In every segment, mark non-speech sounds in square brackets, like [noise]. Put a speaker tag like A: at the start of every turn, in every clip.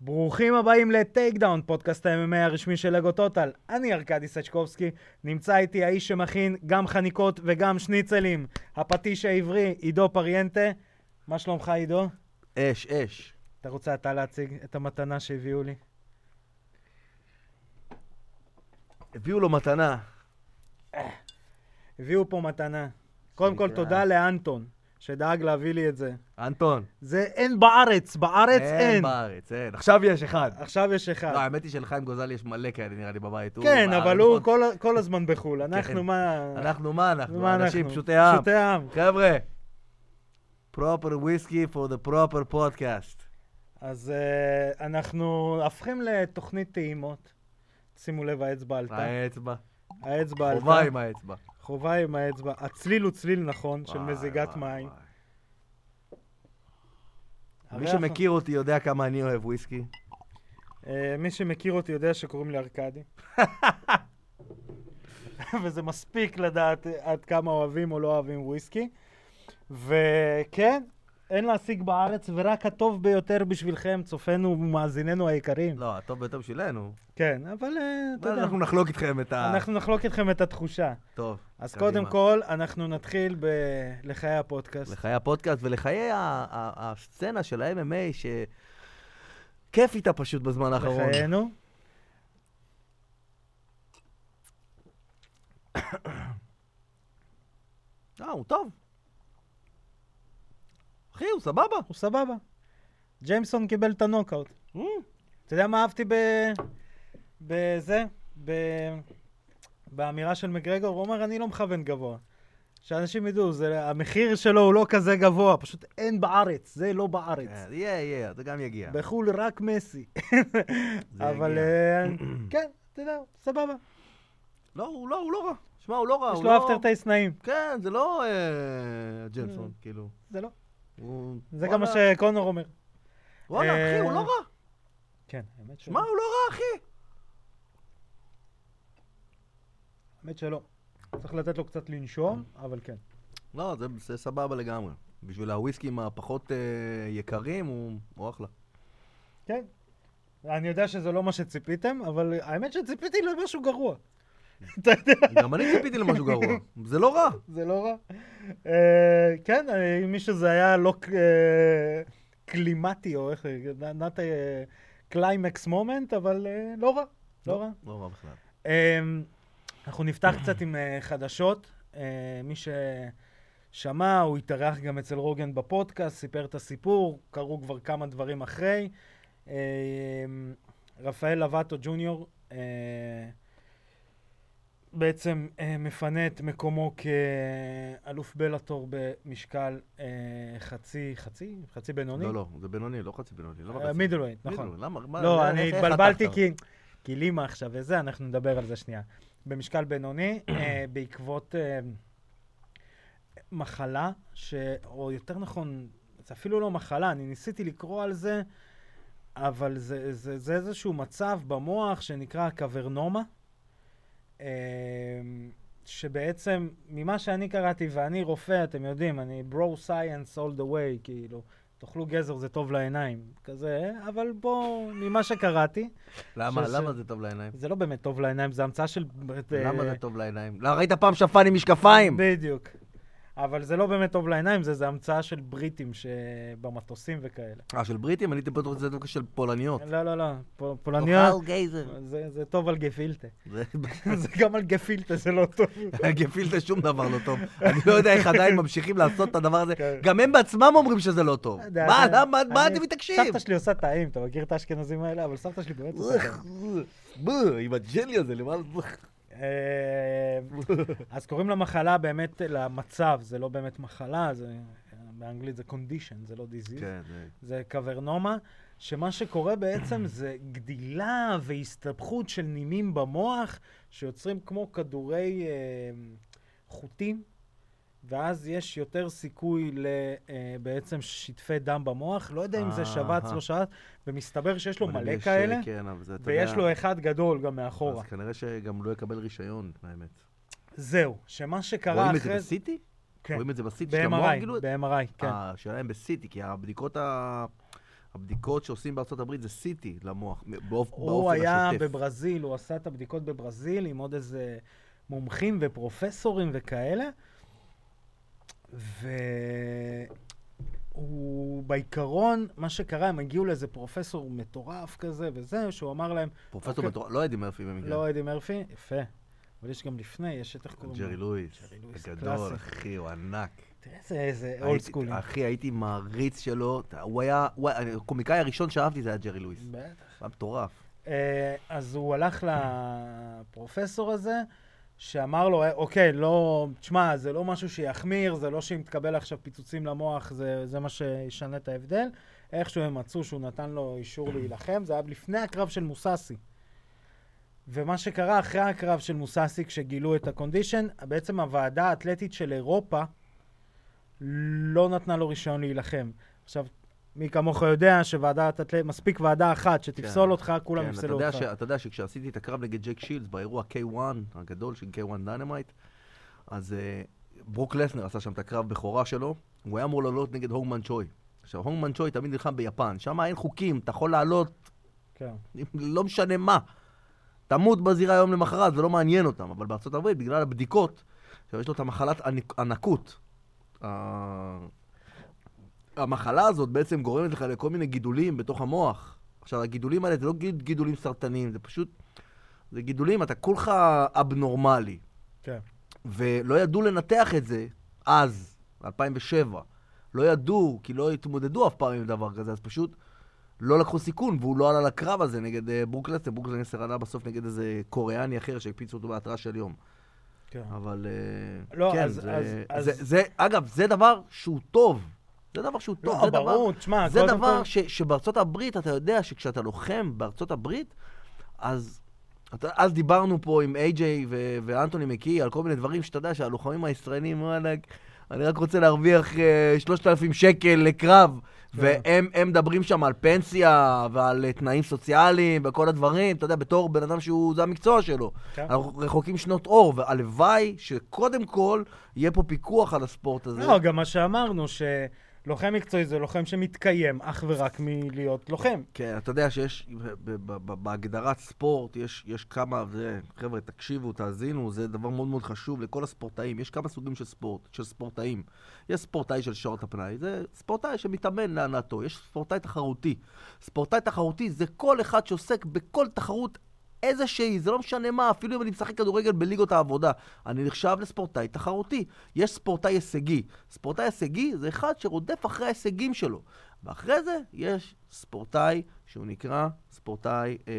A: ברוכים הבאים לטייק דאון, פודקאסט ה-MMA הרשמי של לגו טוטל. אני ארקדי סצ'קובסקי, נמצא איתי האיש שמכין גם חניקות וגם שניצלים, הפטיש העברי, עידו פריאנטה. מה שלומך, עידו?
B: אש, אש.
A: אתה רוצה אתה להציג את המתנה שהביאו לי?
B: הביאו לו מתנה.
A: הביאו פה מתנה. קודם כל,
B: שנקרא-
A: תודה לאנטון, שדאג להביא לי את זה.
B: אנטון.
A: זה אין בארץ, בארץ אין.
B: בארץ, אין. עכשיו יש אחד.
A: עכשיו יש אחד.
B: לא, האמת היא שלחיים גוזל יש מלא כאלה, נראה לי, בבית. הוא
A: כן,
B: מה,
A: אבל
B: נכון?
A: הוא כל- כל הזמן בחו"ל. אנחנו מה...
B: כן. אנחנו מה
A: מה
B: אנחנו?
A: אנחנו?
B: אנשים פשוטי עם.
A: פשוטי עם.
B: חבר'ה, proper whiskey for the proper podcast.
A: אז uh, אנחנו הופכים לתוכנית טעימות. שימו לב, האצבע עלתה.
B: האצבע.
A: האצבע עלתה.
B: חובה עם האצבע.
A: חובה עם האצבע. הצליל הוא צליל נכון, של
B: וואי,
A: מזיגת
B: וואי,
A: מים.
B: וואי. מי
A: הריח-
B: שמכיר אותי יודע כמה אני אוהב וויסקי.
A: אה, מי שמכיר אותי יודע שקוראים לי
B: [laughs]
A: ארקדי. וזה מספיק לדעת עד כמה אוהבים או לא אוהבים וויסקי. וכן, אין להשיג בארץ, ורק הטוב ביותר בשבילכם, צופינו ומאזיננו היקרים.
B: לא, הטוב ביותר בשבילנו.
A: כן, אבל אה, אתה
B: אבל
A: יודע,
B: אנחנו נחלוק איתכם את ה...
A: אנחנו נחלוק איתכם את התחושה.
B: טוב.
A: אז
B: קדימה.
A: קודם כל, אנחנו נתחיל בלחיי הפודקאסט.
B: לחיי הפודקאסט ולחיי ה- ה- הסצנה של ה-MMA, שכיף איתה פשוט בזמן האחרון.
A: לחיינו.
B: אה, הוא טוב. אחי, הוא סבבה.
A: הוא סבבה. ג'יימסון קיבל את הנוקאוט. אתה יודע מה אהבתי ב... בזה? ב... באמירה של מגרגור? הוא אומר, אני לא מכוון גבוה. שאנשים ידעו, זה... המחיר שלו הוא לא כזה גבוה, פשוט אין בארץ, זה לא בארץ.
B: אה, יהיה, יהיה, זה גם יגיע.
A: בחו"ל רק מסי.
B: [laughs] זה
A: אבל
B: יגיע.
A: אה,
B: [clears throat]
A: כן, אתה יודע, סבבה.
B: לא, הוא לא, הוא לא רע. שמע, הוא לא רע.
A: יש
B: הוא
A: לו
B: לא-
A: אפטר טייס נעים.
B: כן, זה לא אה, ג'נסון, כאילו.
A: זה לא.
B: הוא-
A: זה גם
B: וואלה,
A: מה שקונור אומר.
B: וואלה, אחי, הוא
A: אה,
B: לא רע.
A: כן, האמת שלא.
B: שמע, הוא לא רע, אחי.
A: האמת שלא. צריך לתת לו קצת לנשום, אבל כן.
B: לא, זה- זה סבבה לגמרי. בשביל הוויסקים הפחות אה, יקרים, הוא הוא אחלה.
A: כן. אני יודע שזה לא מה שציפיתם, אבל האמת שציפיתי למשהו גרוע. אתה יודע,
B: גם אני ציפיתי למשהו גרוע. זה לא רע.
A: זה לא רע. אה, כן, אה, מי שזה היה לא ק- אה, קלימטי, או איך, not a אה, climax moment, אבל אה, לא רע. לא רע.
B: לא רע בכלל.
A: אמ, אנחנו נפתח קצת עם אה, חדשות. אה, מי ששמע, הוא התארח גם אצל רוגן בפודקאסט, סיפר את הסיפור, קרו כבר כמה דברים אחרי. אמ, רפאל לבטו ג'וניור אה, בעצם אה, מפנה את מקומו כאלוף בלאטור במשקל אה, חצי, חצי? חצי בינוני?
B: לא, לא, זה בינוני, לא חצי בינוני. למה
A: אה,
B: חצי?
A: מידלווייט, נכון.
B: מידלווייט, למה? מה-
A: לא,
B: איך-
A: אני
B: איך
A: התבלבלתי
B: חתכת?
A: כי... כי לימה עכשיו וזה, אנחנו נדבר על זה שנייה. במשקל בינוני,
B: [coughs]
A: אה, בעקבות אה, מחלה, ש... או יותר נכון, זה אפילו לא מחלה, אני ניסיתי לקרוא על זה, אבל זה, זה, זה איזשהו מצב במוח שנקרא קברנומה, אה, שבעצם, ממה שאני קראתי, ואני רופא, אתם יודעים, אני ברו סייאנס all the way, כאילו, תאכלו גזר זה טוב לעיניים, כזה, אבל בואו, ממה שקראתי,
B: למה?
A: ש-
B: למה זה טוב לעיניים?
A: זה לא באמת טוב לעיניים, זה המצאה של... אה,
B: למה זה טוב לעיניים? לא, ראית פעם שפן עם משקפיים?
A: בדיוק. אבל זה לא באמת טוב לעיניים, זה, זה המצאה של בריטים שבמטוסים וכאלה.
B: אה, של בריטים? אני הייתי בטוח שזה דווקא של פולניות.
A: לא, לא, לא, פול- פולניות,
B: אוכל גייזר.
A: זה, זה טוב על גפילטה. [laughs]
B: זה-
A: זה גם על גפילטה, זה לא
B: [laughs]
A: טוב.
B: גפילטה שום דבר לא טוב. אני לא יודע איך עדיין ממשיכים לעשות את הדבר הזה.
A: כן.
B: גם הם בעצמם אומרים שזה לא טוב.
A: אתה יודע,
B: מה,
A: אתה-
B: למה, מה
A: אני-
B: אתם מתעקשים?
A: סבתא שלי עושה טעים, אתה מכיר את האשכנזים האלה? אבל סבתא שלי באמת עושה טעים.
B: אוח, בוא, עם הג'לי הזה, למעלה.
A: אה, אז קוראים למחלה באמת, למצב, זה לא באמת מחלה, זה, באנגלית זה condition, זה לא disease.
B: כן, זה-
A: זה קברנומה, שמה שקורה
B: [clears throat]
A: בעצם זה גדילה והסתבכות של נימים במוח, שיוצרים כמו כדורי אה, חוטים, ואז יש יותר סיכוי ל, אה, בעצם שטפי דם במוח. לא יודע אם זה שבץ,
B: אהה.
A: לא שבץ, ומסתבר שיש לו
B: אבל
A: מלא
B: יש,
A: כאלה,
B: אה, כן, אבל זה, אתה
A: ויש
B: יודע,
A: לו אחד גדול גם מאחורה.
B: אז כנראה שגם לא יקבל רישיון, האמת.
A: זהו, שמה שקרה
B: רואים את זה
A: אחרי זה...
B: בסיטי?
A: כן.
B: רואים את זה בסיטי של המוח,
A: ב-MRI,
B: כאילו?
A: ב-MRI, כן.
B: השאלה אם בסיטי, כי הבדיקות ה... הבדיקות שעושים בארצות הברית זה סיטי למוח, מ- באופ- באופן השוטף.
A: הוא היה בברזיל, הוא עשה את הבדיקות בברזיל עם עוד איזה מומחים ופרופסורים וכאלה, והוא בעיקרון, מה שקרה, הם הגיעו לאיזה פרופסור מטורף כזה וזה, שהוא אמר להם,
B: פרופסור
A: אוקיי.
B: מטורף, לא אדי מרפי במקרה.
A: לא, אדי מרפי, יפה, אבל יש גם לפני, יש את איך קוראים לו?
B: ג'רי לואיס,
A: ג'רי לואיס,
B: הגדול,
A: קלאסי.
B: אחי, הוא ענק.
A: תראה איזה- איזה אולד
B: הייתי-
A: סקולי.
B: אחי, הייתי מעריץ שלו, ת- הוא היה, הוא היה- הקומיקאי הראשון שאהבתי זה היה ג'רי לואיס.
A: בטח.
B: היה מטורף.
A: אה, אז הוא הלך לפרופסור הזה, שאמר לו, "אה, אוקיי, לא, תשמע, זה לא משהו שיחמיר, זה לא שאם תקבל עכשיו פיצוצים למוח, זה, זה מה שישנה את ההבדל. איכשהו הם מצאו שהוא נתן לו אישור להילחם, זה היה לפני הקרב של מוססי. ומה שקרה אחרי הקרב של מוססי, כשגילו את הקונדישן, בעצם הוועדה האתלטית של אירופה לא נתנה לו רישיון להילחם. עכשיו, מי כמוך יודע שוועדת אתלטית, מספיק ועדה אחת שתפסול
B: כן.
A: אותך, כולם
B: כן, אתה
A: יפסלו
B: יודע
A: אותך.
B: ש- אתה יודע שכשעשיתי את הקרב נגד ג'ק שילדס באירוע K1 הגדול של K1 דיינמייט, אז אה, ברוק לסנר עשה שם את הקרב בכורה שלו, הוא היה אמור לעלות נגד הונגמן צ'וי. עכשיו, הונגמן צ'וי תמיד נלחם ביפן, שם אין חוקים, אתה יכול לעלות,
A: כן.
B: לא משנה מה. תמות בזירה יום למחרת, זה לא מעניין אותם, אבל בארצות הברית, בגלל הבדיקות, עכשיו יש לו את המחלת ענק- ענקות. ה- המחלה הזאת בעצם גורמת לך לכל מיני גידולים בתוך המוח. עכשיו, הגידולים האלה זה לא גיד- גידולים סרטניים, זה פשוט... זה גידולים, אתה כולך אבנורמלי.
A: כן.
B: ולא ידעו לנתח את זה אז, 2007. לא ידעו, כי לא התמודדו אף פעם עם דבר כזה, אז פשוט לא לקחו סיכון, והוא לא עלה לקרב הזה נגד אה, ברוק לסנר. ברוק לסנר עלה בסוף נגד איזה קוריאני אחר שהקפיצו אותו בהתראה של יום.
A: כן.
B: אבל... אה,
A: לא,
B: כן,
A: אז-
B: זה,
A: אז-
B: זה,
A: אז-
B: זה, אגב, זה דבר שהוא טוב. זה דבר שהוא טוב.
A: לא,
B: זה דבר,
A: ברור, תשמע,
B: זה
A: קודם
B: דבר
A: כל-
B: ש, שבארצות הברית, אתה יודע שכשאתה לוחם בארצות הברית, אז... אתה, אז דיברנו פה עם איי-ג'יי ו- ואנטוני מקי על כל מיני דברים שאתה יודע שהלוחמים הישראלים, וואלה, אני רק רוצה להרוויח אה, 3,000 שקל לקרב,
A: כן.
B: והם הם מדברים שם על פנסיה ועל אה, תנאים סוציאליים וכל הדברים, אתה יודע, בתור בן אדם שהוא, זה המקצוע שלו.
A: כן.
B: אנחנו רחוקים שנות אור, והלוואי שקודם כל יהיה פה פיקוח על הספורט הזה.
A: לא, גם מה שאמרנו, שלוחם מקצועי זה לוחם שמתקיים אך ורק מלהיות לוחם.
B: כן, אתה יודע שיש, ב- ב- ב- בהגדרת ספורט, יש, יש כמה, זה, חבר'ה, תקשיבו, תאזינו, זה דבר מאוד מאוד חשוב לכל הספורטאים. יש כמה סוגים של ספורט, של ספורטאים. יש ספורטאי של שעות הפנאי, זה ספורטאי שמתאמן להנאתו, יש ספורטאי תחרותי. ספורטאי תחרותי זה כל אחד שעוסק בכל תחרות איזושהי, זה לא משנה מה, אפילו אם אני משחק כדורגל בליגות העבודה, אני נחשב לספורטאי תחרותי. יש ספורטאי הישגי. ספורטאי הישגי זה אחד שרודף אחרי ההישגים שלו. ואחרי זה יש ספורטאי שהוא נקרא ספורטאי, אה,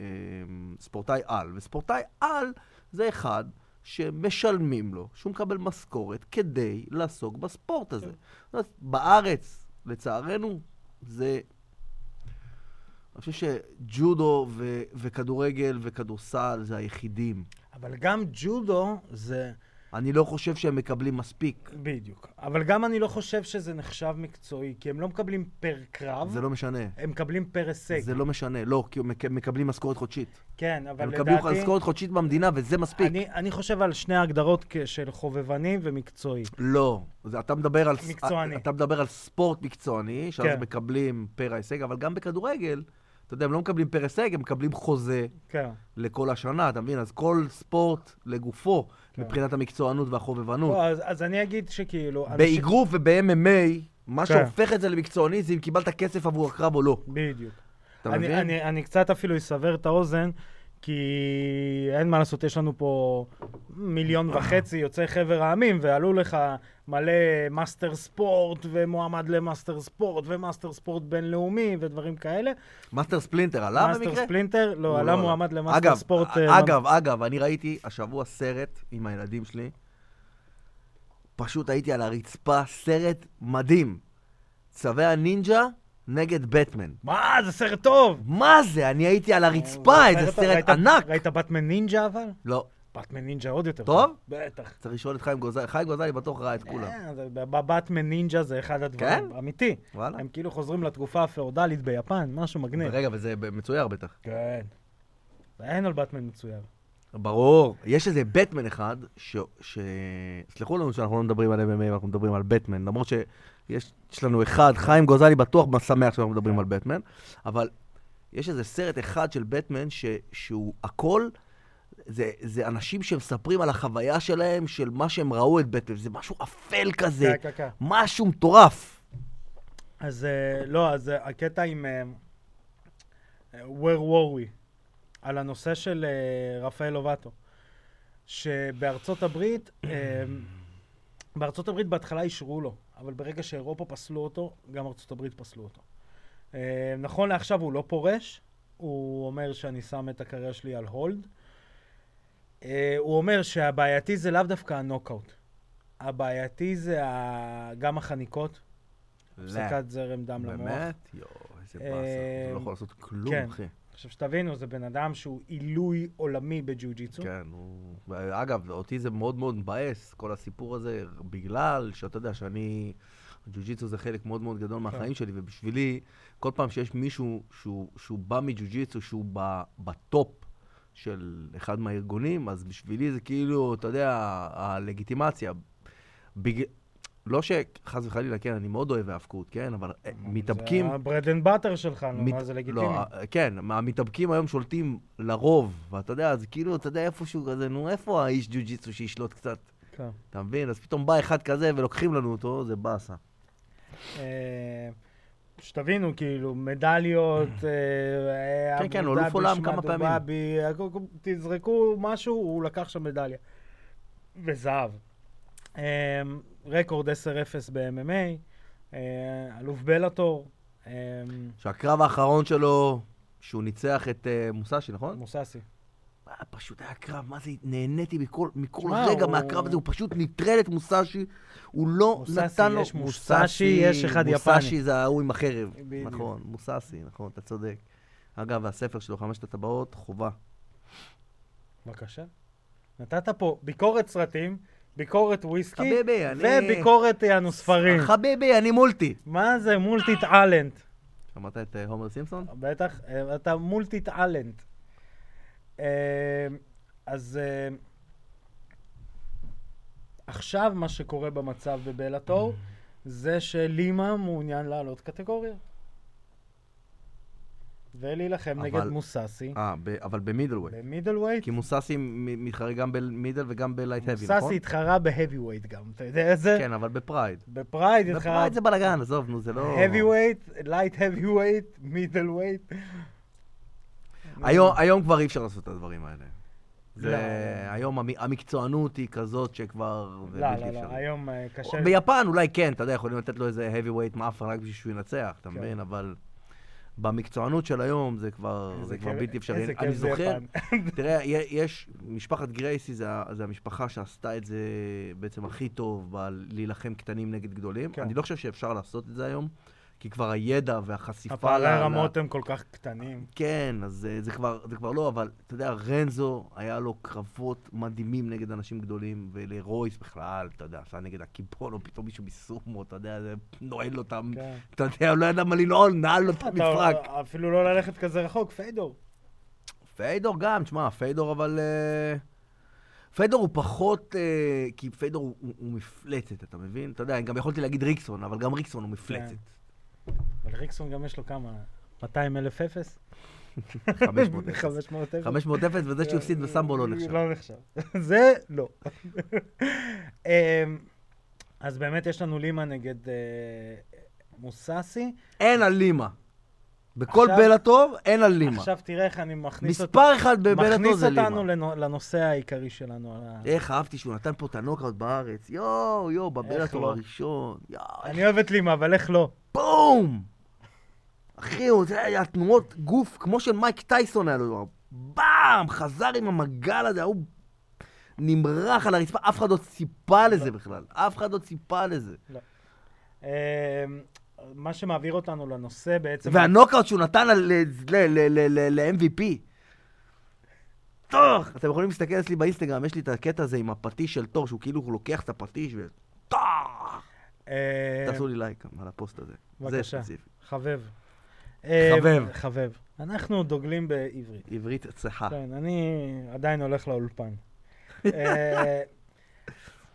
B: אה, ספורטאי על. וספורטאי על זה אחד שמשלמים לו, שהוא מקבל משכורת כדי לעסוק בספורט הזה. זאת אומרת, בארץ, לצערנו, זה אני חושב שג'ודו ו- וכדורגל וכדורסל זה היחידים.
A: אבל גם ג'ודו זה...
B: אני לא חושב שהם מקבלים מספיק.
A: בדיוק. אבל גם אני לא חושב שזה נחשב מקצועי, כי הם לא מקבלים פר קרב,
B: זה לא משנה.
A: הם מקבלים פר הישג.
B: זה לא משנה. לא, כי הם מק- מקבלים משכורת חודשית.
A: כן, אבל
B: הם
A: לדעתי...
B: מקבלים משכורת חודשית במדינה, וזה מספיק.
A: אני, אני חושב על שני ההגדרות כ- של חובבני ומקצועי.
B: לא. זה- אתה מדבר על... ס-
A: מקצועני.
B: אתה מדבר על ספורט מקצועני, שאז
A: כן.
B: מקבלים פר ההישג, אבל גם בכדורגל, אתה יודע, הם לא מקבלים פר הישג, הם מקבלים חוזה
A: כן.
B: לכל השנה, אתה מבין? אז כל ספורט לגופו,
A: כן.
B: מבחינת המקצוענות והחובבנות.
A: לא, אז, אז אני אגיד שכאילו... אנשים-
B: באגרוף וב-MMA, מה
A: כן.
B: שהופך את זה למקצועני זה אם קיבלת כסף עבור הקרב או לא.
A: בדיוק.
B: אתה
A: אני,
B: מבין?
A: אני, אני קצת אפילו אסבר את האוזן, כי אין מה לעשות, יש לנו פה מיליון וחצי יוצאי חבר העמים, ועלו לך מלא מאסטר ספורט, ומועמד למאסטר ספורט, ומאסטר ספורט בינלאומי, ודברים כאלה.
B: מאסטר ספלינטר עלה במקרה?
A: מאסטר ספלינטר,
B: הוא
A: לא, עלה מועמד למאסטר
B: אגב,
A: ספורט.
B: א-
A: אה,
B: אגב, אגב, אני ראיתי השבוע סרט עם הילדים שלי. פשוט הייתי על הרצפה, סרט מדהים. צווי הנינג'ה נגד בטמן.
A: מה, זה סרט טוב!
B: מה זה? אני הייתי על הרצפה, איזה
A: אה, ראית-
B: סרט
A: ראית-
B: ענק.
A: ראית באטמן נינג'ה אבל?
B: לא,
A: באטמן נינג'ה עוד יותר.
B: טוב?
A: בטח.
B: צריך לשאול את חיים גוזלי. חיים גוזלי בטוח ראה את כולם.
A: אה, זה- בבאטמן נינג'ה זה אחד הדברים.
B: כן?
A: אמיתי.
B: וואלה.
A: הם כאילו חוזרים לתקופה הפאודלית ביפן, משהו מגניב.
B: רגע, וזה מצויר בטח.
A: כן. ואין על באטמן מצויר.
B: ברור. יש איזה בטמן אחד, ש... ש... סלחו לנו שאנחנו לא מדברים על MMA, אנחנו מדברים על בטמן, למרות יש, יש לנו אחד, חיים גוזלי בטוח שמח שאנחנו מדברים על בטמן, אבל יש איזה סרט אחד של בטמן ש, שהוא הכל, זה, זה אנשים שמספרים על החוויה שלהם, של מה שהם ראו את בטמן, זה משהו אפל כזה,
A: כן, כן, כן.
B: משהו מטורף.
A: אז אה, לא, אז אה, הקטע עם אה, אה, where were we, על הנושא של אה, רפאל לובטו, שבארצות הברית, אה, בארצות הברית בהתחלה אישרו לו, אבל ברגע שאירופה פסלו אותו, גם ארצות הברית פסלו אותו. אה, נכון לעכשיו הוא לא פורש, הוא אומר שאני שם את הקריירה שלי על הולד. אה, הוא אומר שהבעייתי זה לאו דווקא הנוקאוט, הבעייתי זה ה- גם החניקות, הפסקת זרם דם למוח.
B: באמת? יואו, איזה באסה.
A: אה,
B: אתה לא יכול לעשות כלום,
A: כן.
B: אחי.
A: עכשיו שתבינו, זה בן אדם שהוא עילוי עולמי בג'יוג'יצו. כן.
B: כן, הוא... אגב, אותי זה מאוד מאוד מבאס, כל הסיפור הזה, בגלל שאתה יודע שאני... ג'ו-ג'יצו זה חלק מאוד מאוד גדול מהחיים שלי, ובשבילי, כל פעם שיש מישהו שהוא, שהוא בא מג'ו-ג'יצו, שהוא ב, בטופ של אחד מהארגונים, אז בשבילי זה כאילו, אתה יודע, הלגיטימציה. בג... לא שחס וחלילה, כן, אני מאוד אוהב האבקות, כן, אבל אה, מתאבקים...
A: זה הברד אנד באטר שלך, נו,
B: מת-
A: מה זה לגיטימי?
B: לא, כן, מה, המתאבקים היום שולטים לרוב, ואתה יודע, אז כאילו, אתה יודע איפשהו כזה, נו, איפה האיש ג'ו-ג'יצו שישלוט קצת?
A: כן.
B: אתה מבין? אז פתאום בא אחד כזה ולוקחים לנו אותו, זה באסה.
A: אה, שתבינו, כאילו, מדליות, אה,
B: כן, כן,
A: אבו
B: הוא אלוף
A: דאבי,
B: עולם כמה
A: שמדו
B: פעמים.
A: באבי, הכל- כל- תזרקו משהו, הוא לקח שם מדליה. וזהב. אה, רקורד 10-0 ב-MMA, אה, אלוף בלאטור, אה,
B: שהקרב האחרון שלו, שהוא ניצח את אה, מוסאשי, נכון?
A: מוססי.
B: אה, פשוט היה קרב, מה זה, נהניתי מכל, מכל
A: שמע,
B: רגע
A: הוא-
B: מהקרב הזה, הוא פשוט נטרל את מוסאשי, הוא לא
A: מוסאשי,
B: נתן לו...
A: יש מוסאשי, יש אחד יפני.
B: מוסאשי זה ההוא עם החרב.
A: בדיוק.
B: נכון, מוסאשי, נכון, אתה צודק. אגב, הספר שלו, חמשת הטבעות, חובה.
A: בבקשה. נתת פה ביקורת סרטים, ביקורת וויסקי,
B: חביבי, אני...
A: וביקורת יענו ספרים.
B: חביבי, אני מולטי.
A: מה זה מולטי טאלנט?
B: שמעת את אה, הומר סימפסון?
A: בטח, אה, אתה מולטי טאלנט. אה, אז אה, עכשיו מה שקורה במצב בבלאטור זה שלימה מעוניין לעלות קטגוריה. ולהילחם
B: אבל-
A: נגד מוססי
B: אה, ב- אבל במידלווייט.
A: במידל ווייט.
B: כי מוססי מ- מתחרה גם במידל וגם בלייט האבי, נכון?
A: מוססי התחרה בהאבי ווייט גם, אתה יודע את זה?
B: כן, אבל בפרייד.
A: בפרייד התחרה
B: בפרייד זה בלאגן, עזוב, נו, זה לא...
A: heavyweight, light heavyweight, middle weight.
B: היום- היום כבר אי אפשר לעשות את הדברים האלה.
A: לא.
B: זה... היום המ- המקצוענות היא כזאת שכבר... זה
A: לא,
B: בלתי
A: לא, לא,
B: אפשרי.
A: היום אה, קשה.
B: ביפן אולי כן, אתה יודע, יכולים לתת לו איזה heavyweight מאפן רק בשביל שהוא ינצח, אתה
A: כן.
B: מבין? אבל במקצוענות של היום זה כבר
A: איזה
B: זה כבר
A: כיף-
B: בלתי אפשרי.
A: איזה
B: אני
A: כיף זה
B: זוכר,
A: יפן.
B: תראה, יה- יש, משפחת גרייסי זה ה- זה המשפחה שעשתה את זה בעצם הכי טוב, בלהילחם קטנים נגד גדולים.
A: כן.
B: אני לא חושב שאפשר לעשות את זה היום, כי כבר הידע והחשיפה...
A: הפערי
B: ל- ל-
A: הרמות הם כל כך קטנים.
B: כן, אז אה, זה כבר, זה כבר לא, אבל אתה יודע, רנזו, היה לו קרבות מדהימים נגד אנשים גדולים, ולרויס בכלל, אתה יודע, עשה נגד הקיבול, או פתאום מישהו מסומו, אתה יודע, זה נועל לו את ה...
A: כן.
B: אתה יודע, הוא לא ידע מה לנעול, נעל לו את
A: אתה
B: המפרק.
A: אפילו לא ללכת כזה רחוק, פיידור.
B: פיידור גם, תשמע, פיידור אבל... אה, פיידור הוא פחות, אה, כי פיידור הוא, הוא, הוא מפלצת, אתה מבין? אתה יודע, גם יכולתי להגיד ריקסון, אבל גם ריקסון הוא מפלצת.
A: אבל ריקסון גם יש לו כמה? 200 אלף אפס? כן. [laughs]
B: 500 אפס.
A: 500 אפס?
B: 500 אפס, וזה שהוא הפסיד בסמבו לא נחשב.
A: לא נחשב. זה לא. [laughs] אמ, אז באמת יש לנו לימה נגד אה, מוססי.
B: אין על לימה. בכל
A: עכשיו-
B: בלטור אין על לימה.
A: עכשיו תראה איך אני מכניס אותו.
B: מספר אחד בבלטור
A: מכניס
B: זה
A: אותנו
B: לימה.
A: לנו לנושא העיקרי שלנו. אה, על ה-
B: איך אהבתי שהוא נתן פה את הנוקאוט בארץ. יואו,
A: לא?
B: יואו,
A: אה,
B: בבלטור הראשון. יואו,
A: אני אוהב את לימה, אבל איך לא?
B: בום! אחי, הוא זה היה תנועות גוף כמו של מייק טייסון היה לו. באם! חזר עם המגל הזה, ההוא נמרח על הרצפה, אף אחד לא ציפה לזה בכלל. אף אחד לא ציפה לזה.
A: אמ, מה שמעביר אותנו לנושא בעצם...
B: והנוקאוט שהוא נתן על- ל- ל- ל- ל- ל-MVP. טוח! אתם יכולים להסתכל אצלי באינסטגרם, יש לי את הקטע הזה עם הפטיש של תור, שהוא כאילו הוא לוקח את הפטיש ו... טוח!
A: אה,
B: תעשו לי לייק על הפוסט הזה. זה
A: בבקשה.
B: ספציפי.
A: חבב. אמ,
B: חבב.
A: חבב. אנחנו דוגלים בעברית.
B: עברית צחה.
A: כן, אני עדיין הולך לאולפן. אה,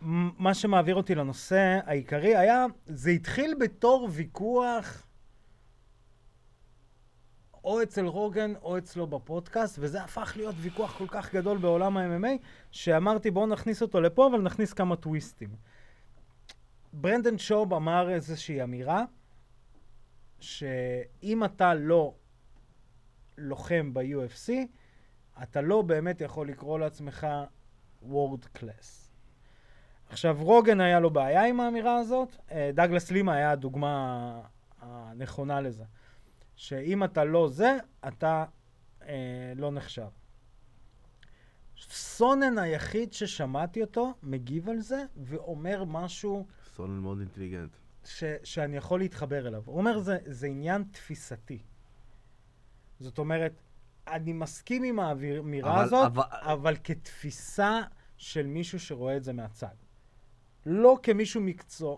A: מ- מה שמעביר אותי לנושא העיקרי היה, זה התחיל בתור ויכוח או אצל רוגן או אצלו בפודקאסט, וזה הפך להיות ויכוח כל כך גדול בעולם ה-MMA, שאמרתי בואו נכניס אותו לפה, אבל נכניס כמה טוויסטים. ברנדן שוב אמר איזושהי אמירה, שאם אתה לא לוחם ב-UFC, אתה לא באמת יכול לקרוא לעצמך וורד קלאס. עכשיו, רוגן היה לו בעיה עם האמירה הזאת, אה, דאגלס לימה היה הדוגמה הנכונה לזה. שאם אתה לא זה, אתה אה, לא נחשב. סונן היחיד ששמעתי אותו מגיב על זה ואומר משהו
B: סונן מאוד אינטליגנט.
A: ש, שאני יכול להתחבר אליו. הוא אומר, זה, זה עניין תפיסתי. זאת אומרת, אני מסכים עם האמירה
B: אבל-
A: הזאת, אבל...
B: אבל-
A: אבל כתפיסה של מישהו שרואה את זה מהצד. לא כמישהו מקצוע,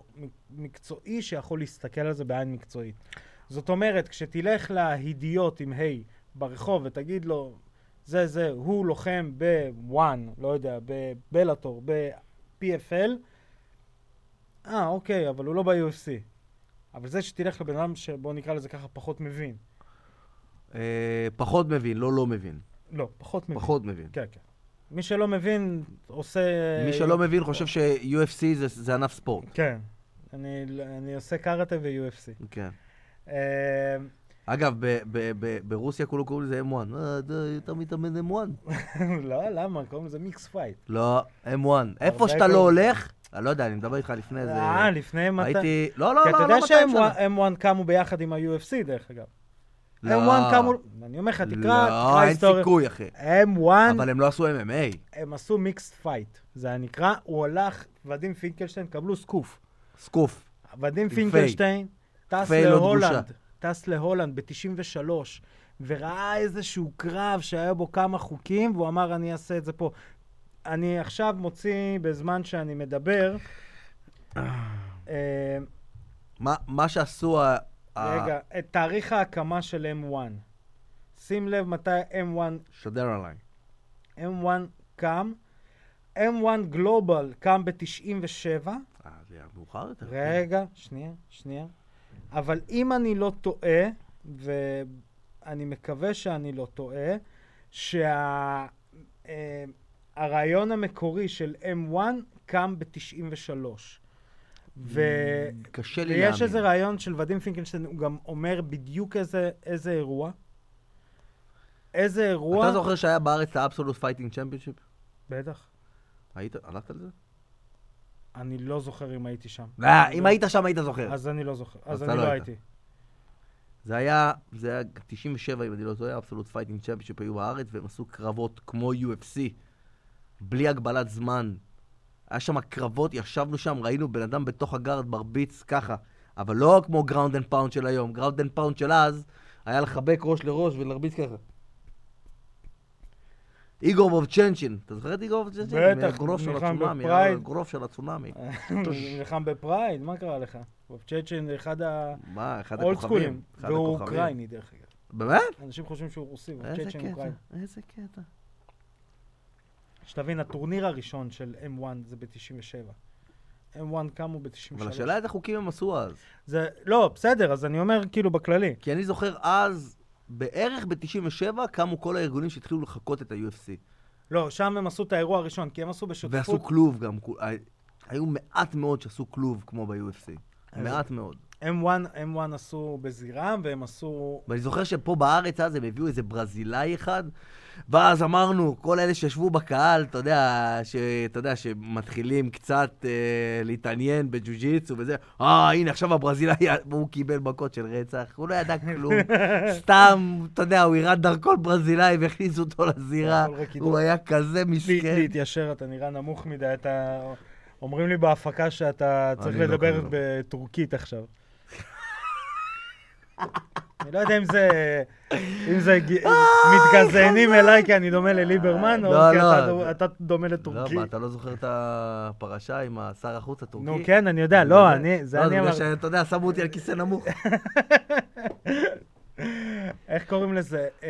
A: מקצועי שיכול להסתכל על זה בעין מקצועית. זאת אומרת, כשתלך להידיוט עם היי ברחוב ותגיד לו, זה זה, הוא לוחם בוואן, לא יודע, בבלאטור, ב-PFL, אה, אוקיי, אבל הוא לא ב-UFC. אבל זה שתלך לבן אדם שבוא נקרא לזה ככה פחות מבין.
B: אה, פחות מבין, לא לא מבין.
A: לא, פחות מבין.
B: פחות מבין.
A: כן, כן. מי שלא מבין, עושה...
B: מי שלא מבין חושב ש-UFC זה- זה ענף ספורט.
A: כן. אני, אני עושה קארטה ו-UFC.
B: כן.
A: אה, [laughs]
B: אגב, ב- ב- ב- ברוסיה כולו קוראים לזה M1. אה, די, אתה מתאמן M1.
A: לא, למה? קוראים לזה מיקס פייט.
B: לא, M1. איפה שאתה
A: קוראים-
B: לא הולך, אני לא יודע, אני מדבר איתך לפני איזה...
A: אה, לפני מתי...
B: הייתי... לא, לא,
A: כי
B: לא,
A: אתה
B: לא,
A: יודע
B: 200 שנה.
A: שהם 1 קמו ביחד עם ה-UFC, דרך אגב. הם
B: לא.
A: 1 קמו... אני אומר לך, תקרא, תקרא
B: לא, אין
A: היסטוריה.
B: סיכוי, אחי.
A: הם 1
B: אבל הם לא עשו MMA.
A: הם עשו מיקס פייט. זה היה נקרא, הוא הלך, ודים פינקלשטיין, קבלו סקוף.
B: סקוף.
A: ודים
B: פיי.
A: פינקלשטיין טס
B: פיי לא
A: להולנד,
B: דגושה.
A: טס להולנד ב-93, וראה איזשהו קרב שהיה בו כמה חוקים, והוא אמר, אני אעשה את זה פה. אני עכשיו מוציא, בזמן שאני מדבר, אה,
B: מה- מה שעשו ה... ה-
A: רגע, את תאריך ההקמה של M1. שים לב מתי M1
B: שדר עליי.
A: M1 קם. M1 גלובל קם ב-97.
B: אה, זה היה מאוחר יותר. כן.
A: רגע, שנייה, שנייה. אבל אם אני לא טועה, ואני מקווה שאני לא טועה, שהרעיון המקורי של M1 קם ב-93. ו...
B: קשה לי Mm. להאמין.
A: ויש איזה רעיון של ודים פינקלשטיין, הוא גם אומר בדיוק איזה, איזה אירוע. איזה אירוע...
B: אתה זוכר שהיה בארץ האבסולוט פייטינג צ'מפיונשיפ?
A: בטח.
B: היית, הלכת לזה?
A: אני לא זוכר אם הייתי שם.
B: לא, אם היית שם היית זוכר.
A: אז אני לא זוכר. אז
B: אתה
A: אני
B: לא
A: לא
B: היית.
A: הייתי.
B: זה היה, זה היה 97 אם אני לא טועה, אבסולוט פייטינג צ'מפיונשיפ היו בארץ והם עשו קרבות כמו UFC, בלי הגבלת זמן. היה שם קרבות, ישבנו שם, ראינו בן אדם בתוך הגארד מרביץ ככה, אבל לא כמו גראונד אנד פאונד של היום, גראונד אנד פאונד של אז, היה לחבק ראש לראש ולהרביץ ככה. איגור בובצ'נצ'ין, אתה זוכר את איגור בובצ'נצ'ין?
A: בטח,
B: מהגרוף של
A: נלחם
B: הצונאמי,
A: בפרייד.
B: היה לו גרוף של הצונאמי.
A: הוא נלחם בפרייד, מה קרה לך? רוב צ'צ'ן זה אחד
B: מה, אחד
A: האולדסקולים,
B: הכוכבים. אחד
A: והוא
B: הכוכבים.
A: אוקראיני דרך אגב.
B: באמת?
A: אנשים חושבים שהוא רוסי, רוב
B: איזה
A: צ'צ'ן
B: קטע,
A: אוקראיני.
B: איזה קטע.
A: שתבין, הטורניר הראשון של M1 זה ב-97. M1 קמו ב-93.
B: אבל השאלה איזה חוקים הם עשו אז.
A: זה, לא, בסדר, אז אני אומר כאילו בכללי.
B: כי אני זוכר אז, בערך ב-97, קמו כל הארגונים שהתחילו לחקות את ה-UFC.
A: לא, שם הם עשו את האירוע הראשון, כי הם עשו בשותפות.
B: ועשו כלוב גם. כו- ה- היו מעט מאוד שעשו כלוב כמו ב-UFC.
A: אז-
B: מעט מאוד.
A: M1, M1 עשו בזירם, והם עשו...
B: ואני זוכר שפה בארץ אז הם הביאו איזה ברזילאי אחד, ואז אמרנו, כל אלה שישבו בקהל, אתה יודע, ש, אתה יודע שמתחילים קצת אה, להתעניין בג'ו-ג'יצו וזה, אה, הנה, עכשיו הברזילאי, הוא קיבל מכות של רצח, הוא לא ידע
A: [laughs]
B: כלום, סתם, אתה יודע, הוא הראה דרכון ברזילאי והכניסו אותו לזירה,
A: הכל נכון, רק
B: הוא היה כזה
A: לה-
B: מסכן.
A: להתיישר, אתה נראה נמוך מדי, אתה... אומרים לי בהפקה שאתה צריך
B: אני לא
A: לדבר
B: כזה.
A: בטורקית עכשיו. אני לא יודע אם זה... אם זה... ג- מתגזענים אליי כי אני דומה לליברמן, או
B: אה, לא,
A: כי
B: לא.
A: אתה דו- אתה דומה
B: לא,
A: לטורקי.
B: מה, אתה לא זוכר את הפרשה עם השר החוץ הטורקי?
A: נו, כן, אני יודע, לא, אני...
B: לא,
A: זה אני
B: בגלל
A: אמרתי.
B: שאתה יודע, שמו אותי על כיסא נמוך.
A: איך קוראים לזה? אמ,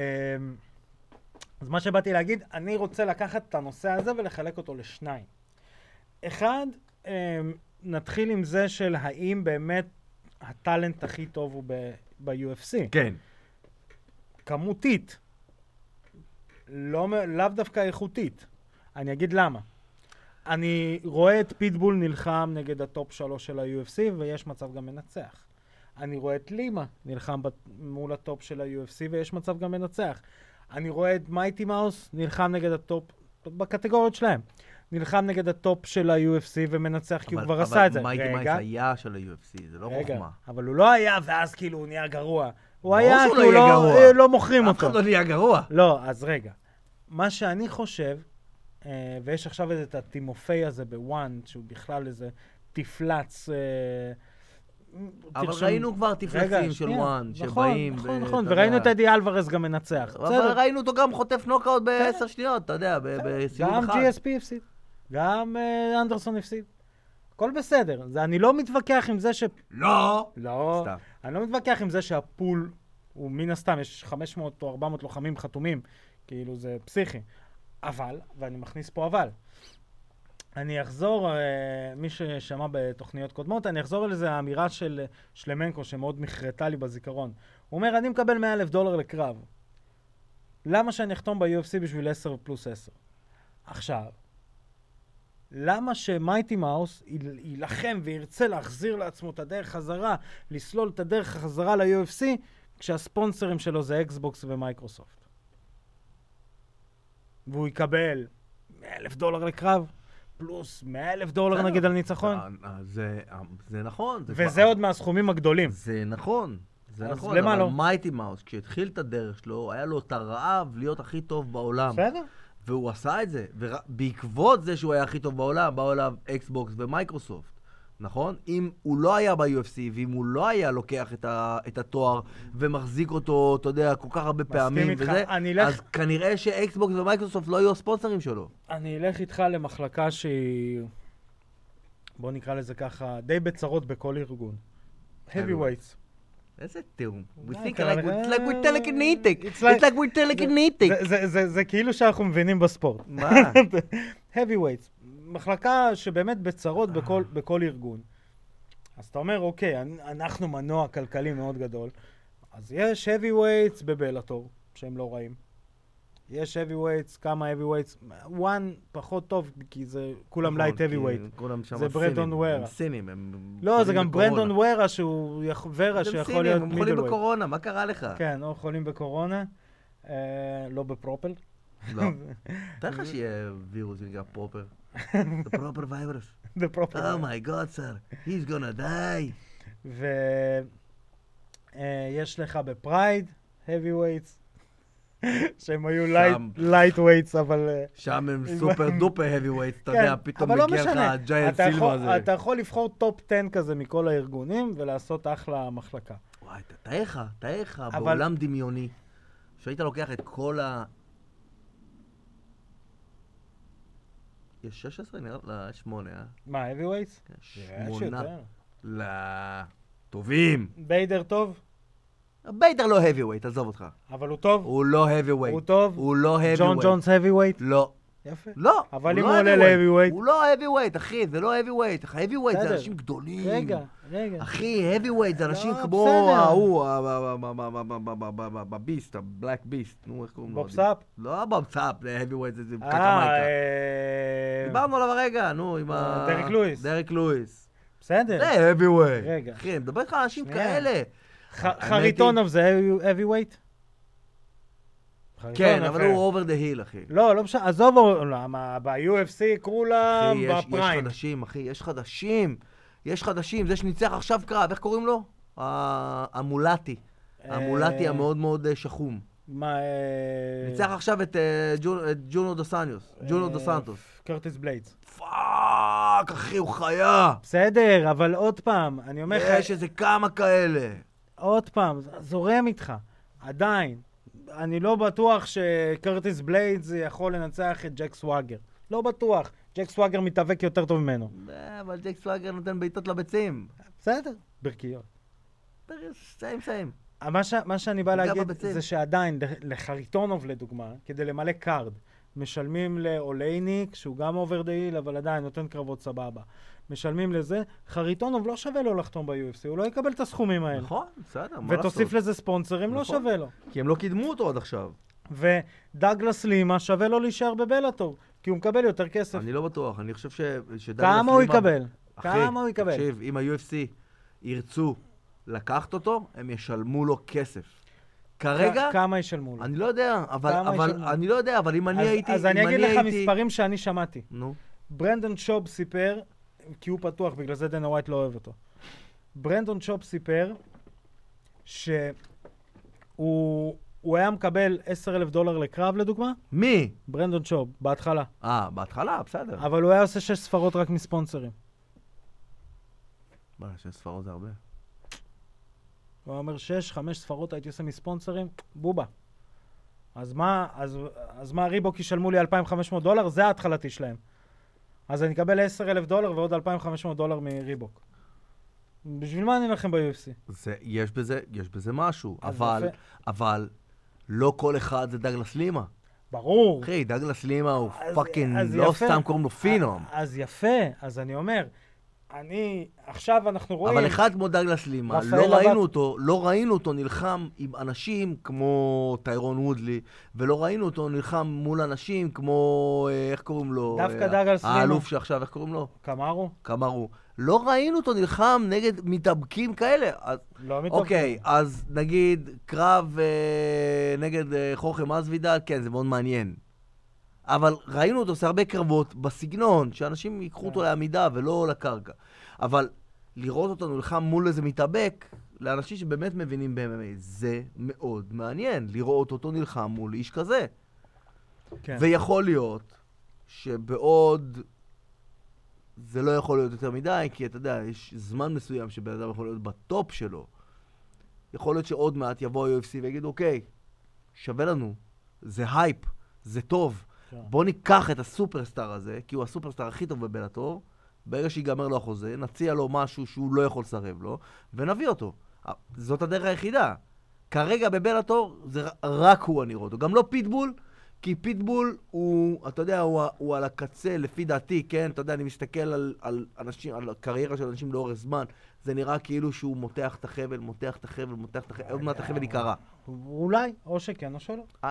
A: אז מה שבאתי להגיד, אני רוצה לקחת את הנושא הזה ולחלק אותו לשניים. אחד, אה, נתחיל עם זה של האם באמת הטאלנט הכי טוב הוא ב- ב-UFC.
B: כן.
A: כמותית. לא, מ- לאו דווקא איכותית. אני אגיד למה. אני רואה את פיטבול נלחם נגד הטופ שלוש של ה-UFC, ויש מצב גם מנצח. אני רואה את לימה נלחם בת... מול הטופ של ה-UFC, ויש מצב גם מנצח. אני רואה את מייטי מאוס נלחם נגד הטופ, בקטגוריות שלהם. נלחם נגד הטופ של ה-UFC ומנצח, כי הוא
B: אבל-
A: כבר עשה את זה.
B: אבל מייטי
A: רגע,
B: מייס היה של ה-UFC, זה לא
A: רגע,
B: חוכמה.
A: אבל הוא לא היה, ואז כאילו הוא נהיה גרוע. הוא
B: ברור
A: היה,
B: שהוא
A: כי
B: לא
A: הוא
B: יהיה
A: לא,
B: גרוע.
A: אה, לא מוכרים
B: אף
A: אותו.
B: אחד לא נהיה גרוע.
A: לא, אז רגע. מה שאני חושב, אה, ויש עכשיו את הטימופי הזה בוואן, שהוא בכלל איזה תפלץ... אה,
B: אבל
A: תרשום-
B: ראינו כבר
A: רגע,
B: תפלצים של
A: שנייה.
B: וואן,
A: נכון,
B: שבאים...
A: נכון,
B: ב-
A: נכון,
B: אתה
A: וראינו
B: יודע.
A: את אדי אלוורז גם מנצח.
B: אבל ראינו אותו גם חוטף נוקאוט בעשר שניות, אתה יודע, ב- בסיבוב
A: גם
B: אחד.
A: GSP הפסיד, גם אה, אנדרסון הפסיד. הכל בסדר. זה- אני לא מתווכח עם זה ש...
B: לא!
A: לא,
B: סתם.
A: אני לא מתווכח עם זה שהפול הוא מן הסתם, יש 500 או 400 לוחמים חתומים, כאילו זה פסיכי. אבל, ואני מכניס פה אבל, אני אחזור, אה, מי ששמע בתוכניות קודמות, אני אחזור לאיזו האמירה של שלמנקו שמאוד נחרטה לי בזיכרון. הוא אומר, אני מקבל 100 אלף דולר לקרב. למה שאני אחתום ב-UFC בשביל 10 פלוס 10? עכשיו, למה שמייטי מאוס יל- יילחם וירצה להחזיר לעצמו את הדרך חזרה, לסלול את הדרך חזרה ל-UFC, כשהספונסרים שלו זה אקסבוקס ומייקרוסופט? והוא יקבל 100 אלף דולר לקרב, פלוס 100 אלף דולר
B: בסדר.
A: לא נגיד על ניצחון,
B: אה, אה, זה- אה, זה נכון. זה
A: וזה
B: כבר-
A: עוד מהסכומים הגדולים.
B: זה נכון. זה
A: אז
B: נכון,
A: למה
B: אבל
A: לא?
B: מייטי מאוס, כשהתחיל את הדרך שלו, היה לו את הרעב להיות הכי טוב בעולם.
A: בסדר?
B: והוא עשה את זה. ובעקבות זה שהוא היה הכי טוב בעולם, באו אליו אקסבוקס ומייקרוסופט, נכון? אם הוא לא היה ב-UFC, ואם הוא לא היה לוקח את, ה, את התואר ומחזיק אותו, אתה יודע, כל כך הרבה פעמים
A: איתך.
B: וזה,
A: אני אלך-
B: אז כנראה שאקסבוקס ומייקרוסופט לא יהיו הספונסרים שלו.
A: אני אלך איתך למחלקה שהיא, בוא נקרא לזה ככה, די בצרות בכל ארגון. heavyweights.
B: איזה תיאום. We
A: די,
B: think
A: אה, אתה- אה,
B: like, it's like we're telekinetic.
A: It's
B: It's
A: like-
B: like we're
A: זה,
B: telekinetic.
A: זה, זה, זה כאילו שאנחנו מבינים בספורט.
B: מה?
A: [laughs] heavyweights, מחלקה שבאמת בצרות בכל,
B: אה.
A: בכל ארגון. אז אתה אומר, אוקיי, אנ- אנחנו מנוע כלכלי מאוד גדול, אז יש heavyweights בבלאטור, שהם לא רעים. יש heavyweights, כמה heavyweights, one פחות טוב, כי זה כולם
B: נכון,
A: לייט
B: כי
A: heavyweight.
B: כולם שם
A: זה ברנדון
B: סינים,
A: וררה.
B: הם סינים, הם...
A: לא, זה
B: חולים
A: גם
B: בקורונה.
A: ברנדון ורה, שהוא יכ- ורה,
B: הם
A: שיכול
B: סינים,
A: להיות
B: הם חולים
A: מידלווייט.
B: בקורונה, מה קרה לך?
A: כן, או חולים בקורונה, אה, לא בפרופל. [laughs]
B: לא. תאר לך שיהיה וירוס שנקרא
A: [laughs]
B: פרופר. זה פרופר וייברוס. אה, Oh
A: בפרופל.
B: אומייגוד סר, he's gonna die.
A: ויש אה, לך בפרייד, heavyweights, [laughs] שהם היו
B: שם.
A: lightweights, אבל... אה,
B: שם
A: [laughs]
B: הם סופר דופר heavyweights, אתה יודע,
A: כן,
B: פתאום
A: אבל לא
B: מגיע לך
A: משנה.
B: הג'יינט
A: אתה
B: סילבה
A: יכול-
B: הזה.
A: אתה יכול לבחור טופ 10 כזה מכל הארגונים ולעשות אחלה מחלקה.
B: וואי, ת- תאר לך, תאר לך,
A: אבל-
B: בעולם דמיוני, שהיית לוקח את כל ה... יש 16? נראה לי, 8, אה?
A: מה, heavyweights?
B: כן,
A: נראה
B: שמונה.
A: שיותר.
B: ל... טובים.
A: ביידר טוב,
B: ביידר לא heavyweight, עזוב אותך.
A: אבל הוא טוב.
B: הוא לא heavyweight.
A: הוא טוב?
B: הוא לא heavyweight.
A: ג'ון ג'ונס heavyweight.
B: לא.
A: יפה.
B: לא.
A: אבל אם
B: לא
A: הוא עולה
B: heavyweight.
A: ל-heavyweight?
B: הוא לא heavyweight, אחי, זה לא heavyweight. heavyweight זה
A: בסדר.
B: אנשים גדולים.
A: רגע, רגע.
B: אחי, heavyweight זה אנשים
A: לא,
B: כמו
A: בסדר.
B: ההוא, ה- ה- ה- ה- ה- ה- ה- ה- הביסט, הבלק ביסט, נו, איך קוראים לו?
A: בוב סאפ?
B: לא בוב סאפ, זה heavyweight, זה זה
A: אה,
B: קקמייקה.
A: אה,
B: דיברנו עליו הרגע, נו, עם ה...
A: דרק לואיס.
B: דרק לואיס.
A: בסדר.
B: זה heavyweight.
A: רגע.
B: אחי, אני מדבר איתך על אנשים
A: שנייה.
B: כאלה.
A: ח-
B: היא-
A: חריטונוב זה heavy- heavyweight?
B: כן,
A: חריטונוב,
B: אבל
A: אה.
B: הוא over the hill, אחי.
A: לא, לא משנה, עזוב, או- למה ב-UFC כולם
B: אחי, יש, יש
A: בפריים.
B: חדשים, אחי, יש חדשים. יש חדשים, זה שניצח עכשיו קרב, איך קוראים לו? ה- המולטי. המולטי
A: אה,
B: המאוד מאוד אה, שחום.
A: מה... אה,
B: ניצח עכשיו את אה, ג'ון- את ג'ונו דו סניוס, ג'ונו
A: אה,
B: דו סנטוס.
A: קרטיס בליידס.
B: פאק, אחי, הוא חיה.
A: בסדר, אבל עוד פעם, אני אומר לך,
B: יש איזה כמה כאלה.
A: עוד פעם, זורם איתך, עדיין. אני לא בטוח שקרטיס בליידס יכול לנצח את ג'ק סוואגר. לא בטוח. ג'ק סוואגר מתאבק יותר טוב ממנו.
B: אה, אבל ג'ק סוואגר נותן בעיטות לביצים.
A: בסדר. ברכיות.
B: סיים, סיים.
A: מה, ש... מה שאני בא
B: הוא גר
A: להגיד
B: בבצל.
A: זה שעדיין, לח- לחריטונוב לדוגמה, כדי למלא קארד, משלמים לאולייניק, שהוא גם אובר דהיל, אבל עדיין נותן קרבות סבבה. משלמים לזה, חריטונוב לא שווה לו לחתום ב-UFC, הוא לא יקבל את הסכומים האלה.
B: נכון, בסדר, מה לעשות?
A: ותוסיף לזה ספונסרים, לא
B: נכון.
A: שווה לו.
B: כי הם לא קידמו אותו עד עכשיו.
A: ודגלס לימה שווה לו להישאר בבלאטור, כי הוא מקבל יותר כסף.
B: אני לא בטוח, אני חושב ש... שדגלס
A: כמה הוא
B: לימן-
A: יקבל?
B: אחי,
A: כמה הוא יקבל?
B: תקשיב, אם ה-UFC ירצו לקחת אותו, הם ישלמו לו כסף. כרגע,
A: כ- כמה ישלמו לו?
B: אני לא יודע, אבל,
A: כמה
B: אבל
A: ישלמו?
B: אני לא יודע, אבל אם אני
A: אז-
B: הייתי...
A: אז
B: אם
A: אני אגיד לך
B: הייתי-
A: מספרים שאני שמעתי.
B: נו,
A: ברנדון שוב סיפר, כי הוא פתוח, בגלל זה דנה ווייט לא אוהב אותו. ברנדון שוב סיפר שהוא הוא היה מקבל 10,000 דולר לקרב, לדוגמה,
B: מי?
A: ברנדון שוב, בהתחלה.
B: אה, בהתחלה, בסדר.
A: אבל הוא היה עושה שש ספרות רק מספונסרים.
B: בוא'נה, שש ספרות זה הרבה.
A: הוא היה אומר, שש, חמש ספרות הייתי עושה מספונסרים, בובה. אז מה, אז, אז מה ריבוק ישלמו לי 2,500 דולר? זה ההתחלתי שלהם. אז אני אקבל 10,000 דולר ועוד 2,500 דולר מריבוק. בשביל מה אני אלחם ב-UFC?
B: זה, יש בזה, יש בזה משהו,
A: אז
B: אבל,
A: יפה.
B: אבל, לא כל אחד זה דגלס לימה.
A: ברור.
B: אחי, דגלס לימה הוא
A: אז-
B: פאקינג,
A: אז
B: לא
A: יפה.
B: סתם קוראים לו פינום.
A: אז יפה, אז אני אומר, אני, עכשיו אנחנו רואים...
B: אבל אחד כמו דגלס לימה,
A: רפאל
B: לא
A: אבט-
B: ראינו אותו, לא ראינו אותו נלחם עם אנשים כמו טיירון וודלי, ולא ראינו אותו נלחם מול אנשים כמו, אה, איך קוראים לו?
A: דווקא
B: אה,
A: דגלס לימה.
B: האלוף שעכשיו, איך קוראים לו?
A: קמרו?
B: קמרו. לא ראינו אותו נלחם נגד מתאבקים כאלה. אז-
A: לא מתוך...
B: אוקיי, אז נגיד קרב אה, נגד אה, חוכם אזוידל, כן, זה מאוד מעניין. אבל ראינו אותו עושה הרבה קרבות בסגנון, שאנשים ייקחו אותו
A: כן.
B: לעמידה ולא לקרקע. אבל לראות אותו נלחם מול איזה מתאבק, לאנשים שבאמת מבינים ב-MMA, זה מאוד מעניין, לראות אותו נלחם מול איש כזה.
A: כן.
B: ויכול להיות שבעוד... זה לא יכול להיות יותר מדי, כי אתה יודע, יש זמן מסוים שבן אדם יכול להיות בטופ שלו. יכול להיות שעוד מעט יבוא ה-UFC ויגיד, אוקיי, שווה לנו, זה הייפ, זה טוב.
A: כן.
B: בוא ניקח את הסופרסטאר הזה, כי הוא הסופרסטאר הכי טוב בבלאטור, ברגע שיגמר לו החוזה, נציע לו משהו שהוא לא יכול לסרב לו, ונביא אותו. אה, זאת הדרך היחידה. כרגע בבלאטור זה ר- רק הוא אני רואה אותו. גם לא פיטבול, כי פיטבול הוא, אתה יודע, הוא, ה- הוא על הקצה, לפי דעתי, כן? אתה יודע, אני מסתכל על, על אנשים, על הקריירה של אנשים לאורך זמן, זה נראה כאילו שהוא מותח את החבל, מותח את החבל, מותח את החבל, עוד מעט החבל ייקרע.
A: אולי, או שכן או שלא.
B: אה,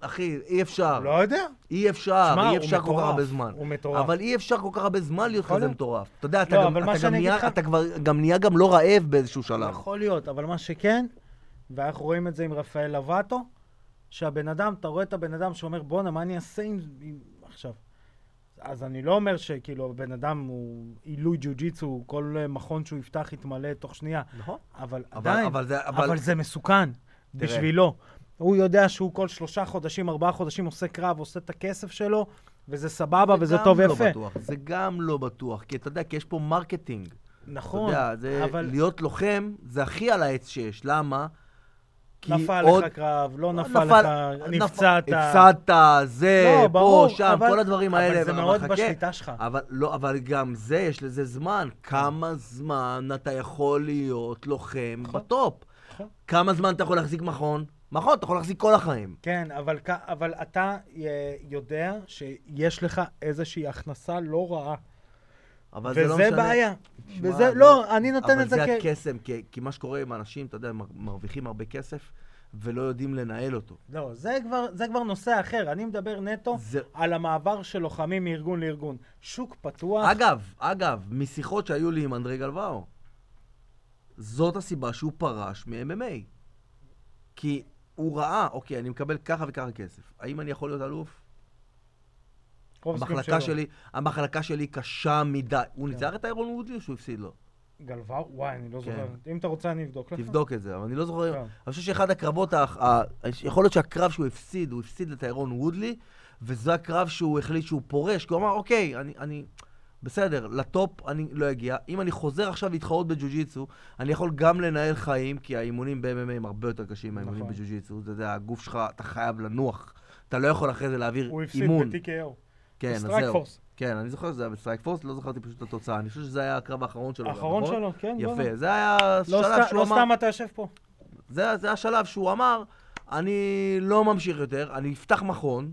B: אחי, אי אפשר.
A: לא יודע.
B: אי אפשר,
A: שמע,
B: אה, אי
A: הוא
B: אפשר כל כך
A: מטורף,
B: הרבה זמן.
A: הוא מטורף.
B: אבל אי אפשר כל כך הרבה זמן להיות
A: יכול
B: כזה
A: להיות.
B: מטורף. אתה יודע, אתה
A: לא,
B: גם-
A: אבל מה
B: אתה גם
A: שאני אגיד
B: נהיה-
A: לך- נכון.
B: אתה כבר גם נהיה גם לא רעב באיזשהו שלב.
A: יכול להיות, אבל מה שכן, ואנחנו רואים את זה עם רפאל לבטו, שהבן אדם, אתה רואה את הבן אדם שאומר, בואנה, מה אני אעשה עם... עם... עכשיו. אז אני לא אומר שכאילו הבן אדם הוא עילוי ג'ו-ג'יצו, כל אה, מכון שהוא יפתח יתמלא תוך שנייה,
B: נכון.
A: אבל
B: אבל-
A: עדיין,
B: אבל זה- אבל-
A: אבל זה מסוכן בשבילו. הוא יודע שהוא כל שלושה חודשים, ארבעה חודשים עושה קרב, עושה את הכסף שלו, וזה סבבה, וזה
B: גם
A: טוב
B: לא
A: ויפה.
B: בטוח, זה גם לא בטוח, כי אתה יודע, כי יש פה מרקטינג.
A: נכון,
B: אתה יודע, זה
A: אבל
B: להיות לוחם, זה הכי על העץ שיש. למה? כי
A: נפל
B: עוד-
A: לך קרב, לא נפל לך, נפצעת.
B: הפסדת, זה,
A: לא,
B: פה,
A: ברור,
B: שם,
A: אבל-
B: כל הדברים
A: אבל
B: האלה.
A: זה
B: אבל
A: מאוד
B: חכה.
A: בשליטה שלך.
B: אבל לא, אבל גם זה, יש לזה זמן. כמה זמן אתה יכול להיות לוחם בטופ?
A: נכון.
B: כמה זמן אתה יכול להחזיק מכון? מכון, אתה יכול להחזיק כל החיים.
A: כן, אבל, כ- אבל אתה אה, יודע שיש לך איזושהי הכנסה לא רעה.
B: אבל זה
A: וזה
B: לא משנה.
A: לא בעיה.
B: שמע,
A: וזה,
B: זה-
A: לא, אני נותן את זה
B: אבל
A: כ...
B: זה הקסם, כי- כי מה שקורה עם אנשים, אתה יודע, הם מר- מרוויחים הרבה כסף ולא יודעים לנהל אותו.
A: לא, זה כבר, זה כבר נושא אחר. אני מדבר נטו
B: זה-
A: על המעבר של לוחמים מארגון לארגון. שוק פתוח,
B: אגב, אגב, משיחות שהיו לי עם אנדרי גלוואו, זאת הסיבה שהוא פרש מ-MMA. כי הוא ראה, אוקיי, אני מקבל ככה וככה כסף. האם אני יכול להיות אלוף?
A: רוב הסכום
B: המחלקה
A: שלו.
B: שלי, המחלקה שלי קשה מדי. הוא
A: כן.
B: ניצח את איירון וודלי או שהוא הפסיד לו?
A: גלוואו? וואי, אני לא זוכר.
B: כן.
A: אם אתה רוצה, אני אבדוק לך.
B: תבדוק את זה, אבל אני לא זוכר.
A: כן.
B: אני חושב שאחד הקרבות, ה- ה- יכול להיות שהקרב שהוא הפסיד, הוא הפסיד לטיירון וודלי, וזה הקרב שהוא החליט שהוא פורש, כי הוא אמר, אוקיי, אני, אני, בסדר, לטופ אני לא אגיע. אם אני חוזר עכשיו להתחרות בג'ו-ג'יצו, אני יכול גם לנהל חיים, כי האימונים ב-MMA הם הרבה יותר קשים מהאימונים
A: נכון.
B: בג'ו-ג'יצו. אתה יודע, הגוף שלך, אתה חייב לנוח. אתה לא יכול אחרי זה להעביר
A: הוא הפסיד
B: אימון.
A: ב-TKO.
B: כן, אז
A: בסטרייק
B: זהו.
A: פורס.
B: כן, אני זוכר שזה היה בסטרייק פורס, לא זכרתי פשוט את התוצאה. אני חושב שזה היה הקרב האחרון שלו. גם,
A: האחרון
B: נכון?
A: שלו, כן, בוא'נה.
B: יפה, זה היה
A: לא
B: שלב
A: סת-
B: שהוא
A: לא
B: אמר...
A: סתם אתה יושב פה.
B: זה, זה השלב שהוא אמר, אני לא ממשיך יותר, אני אפתח מכון,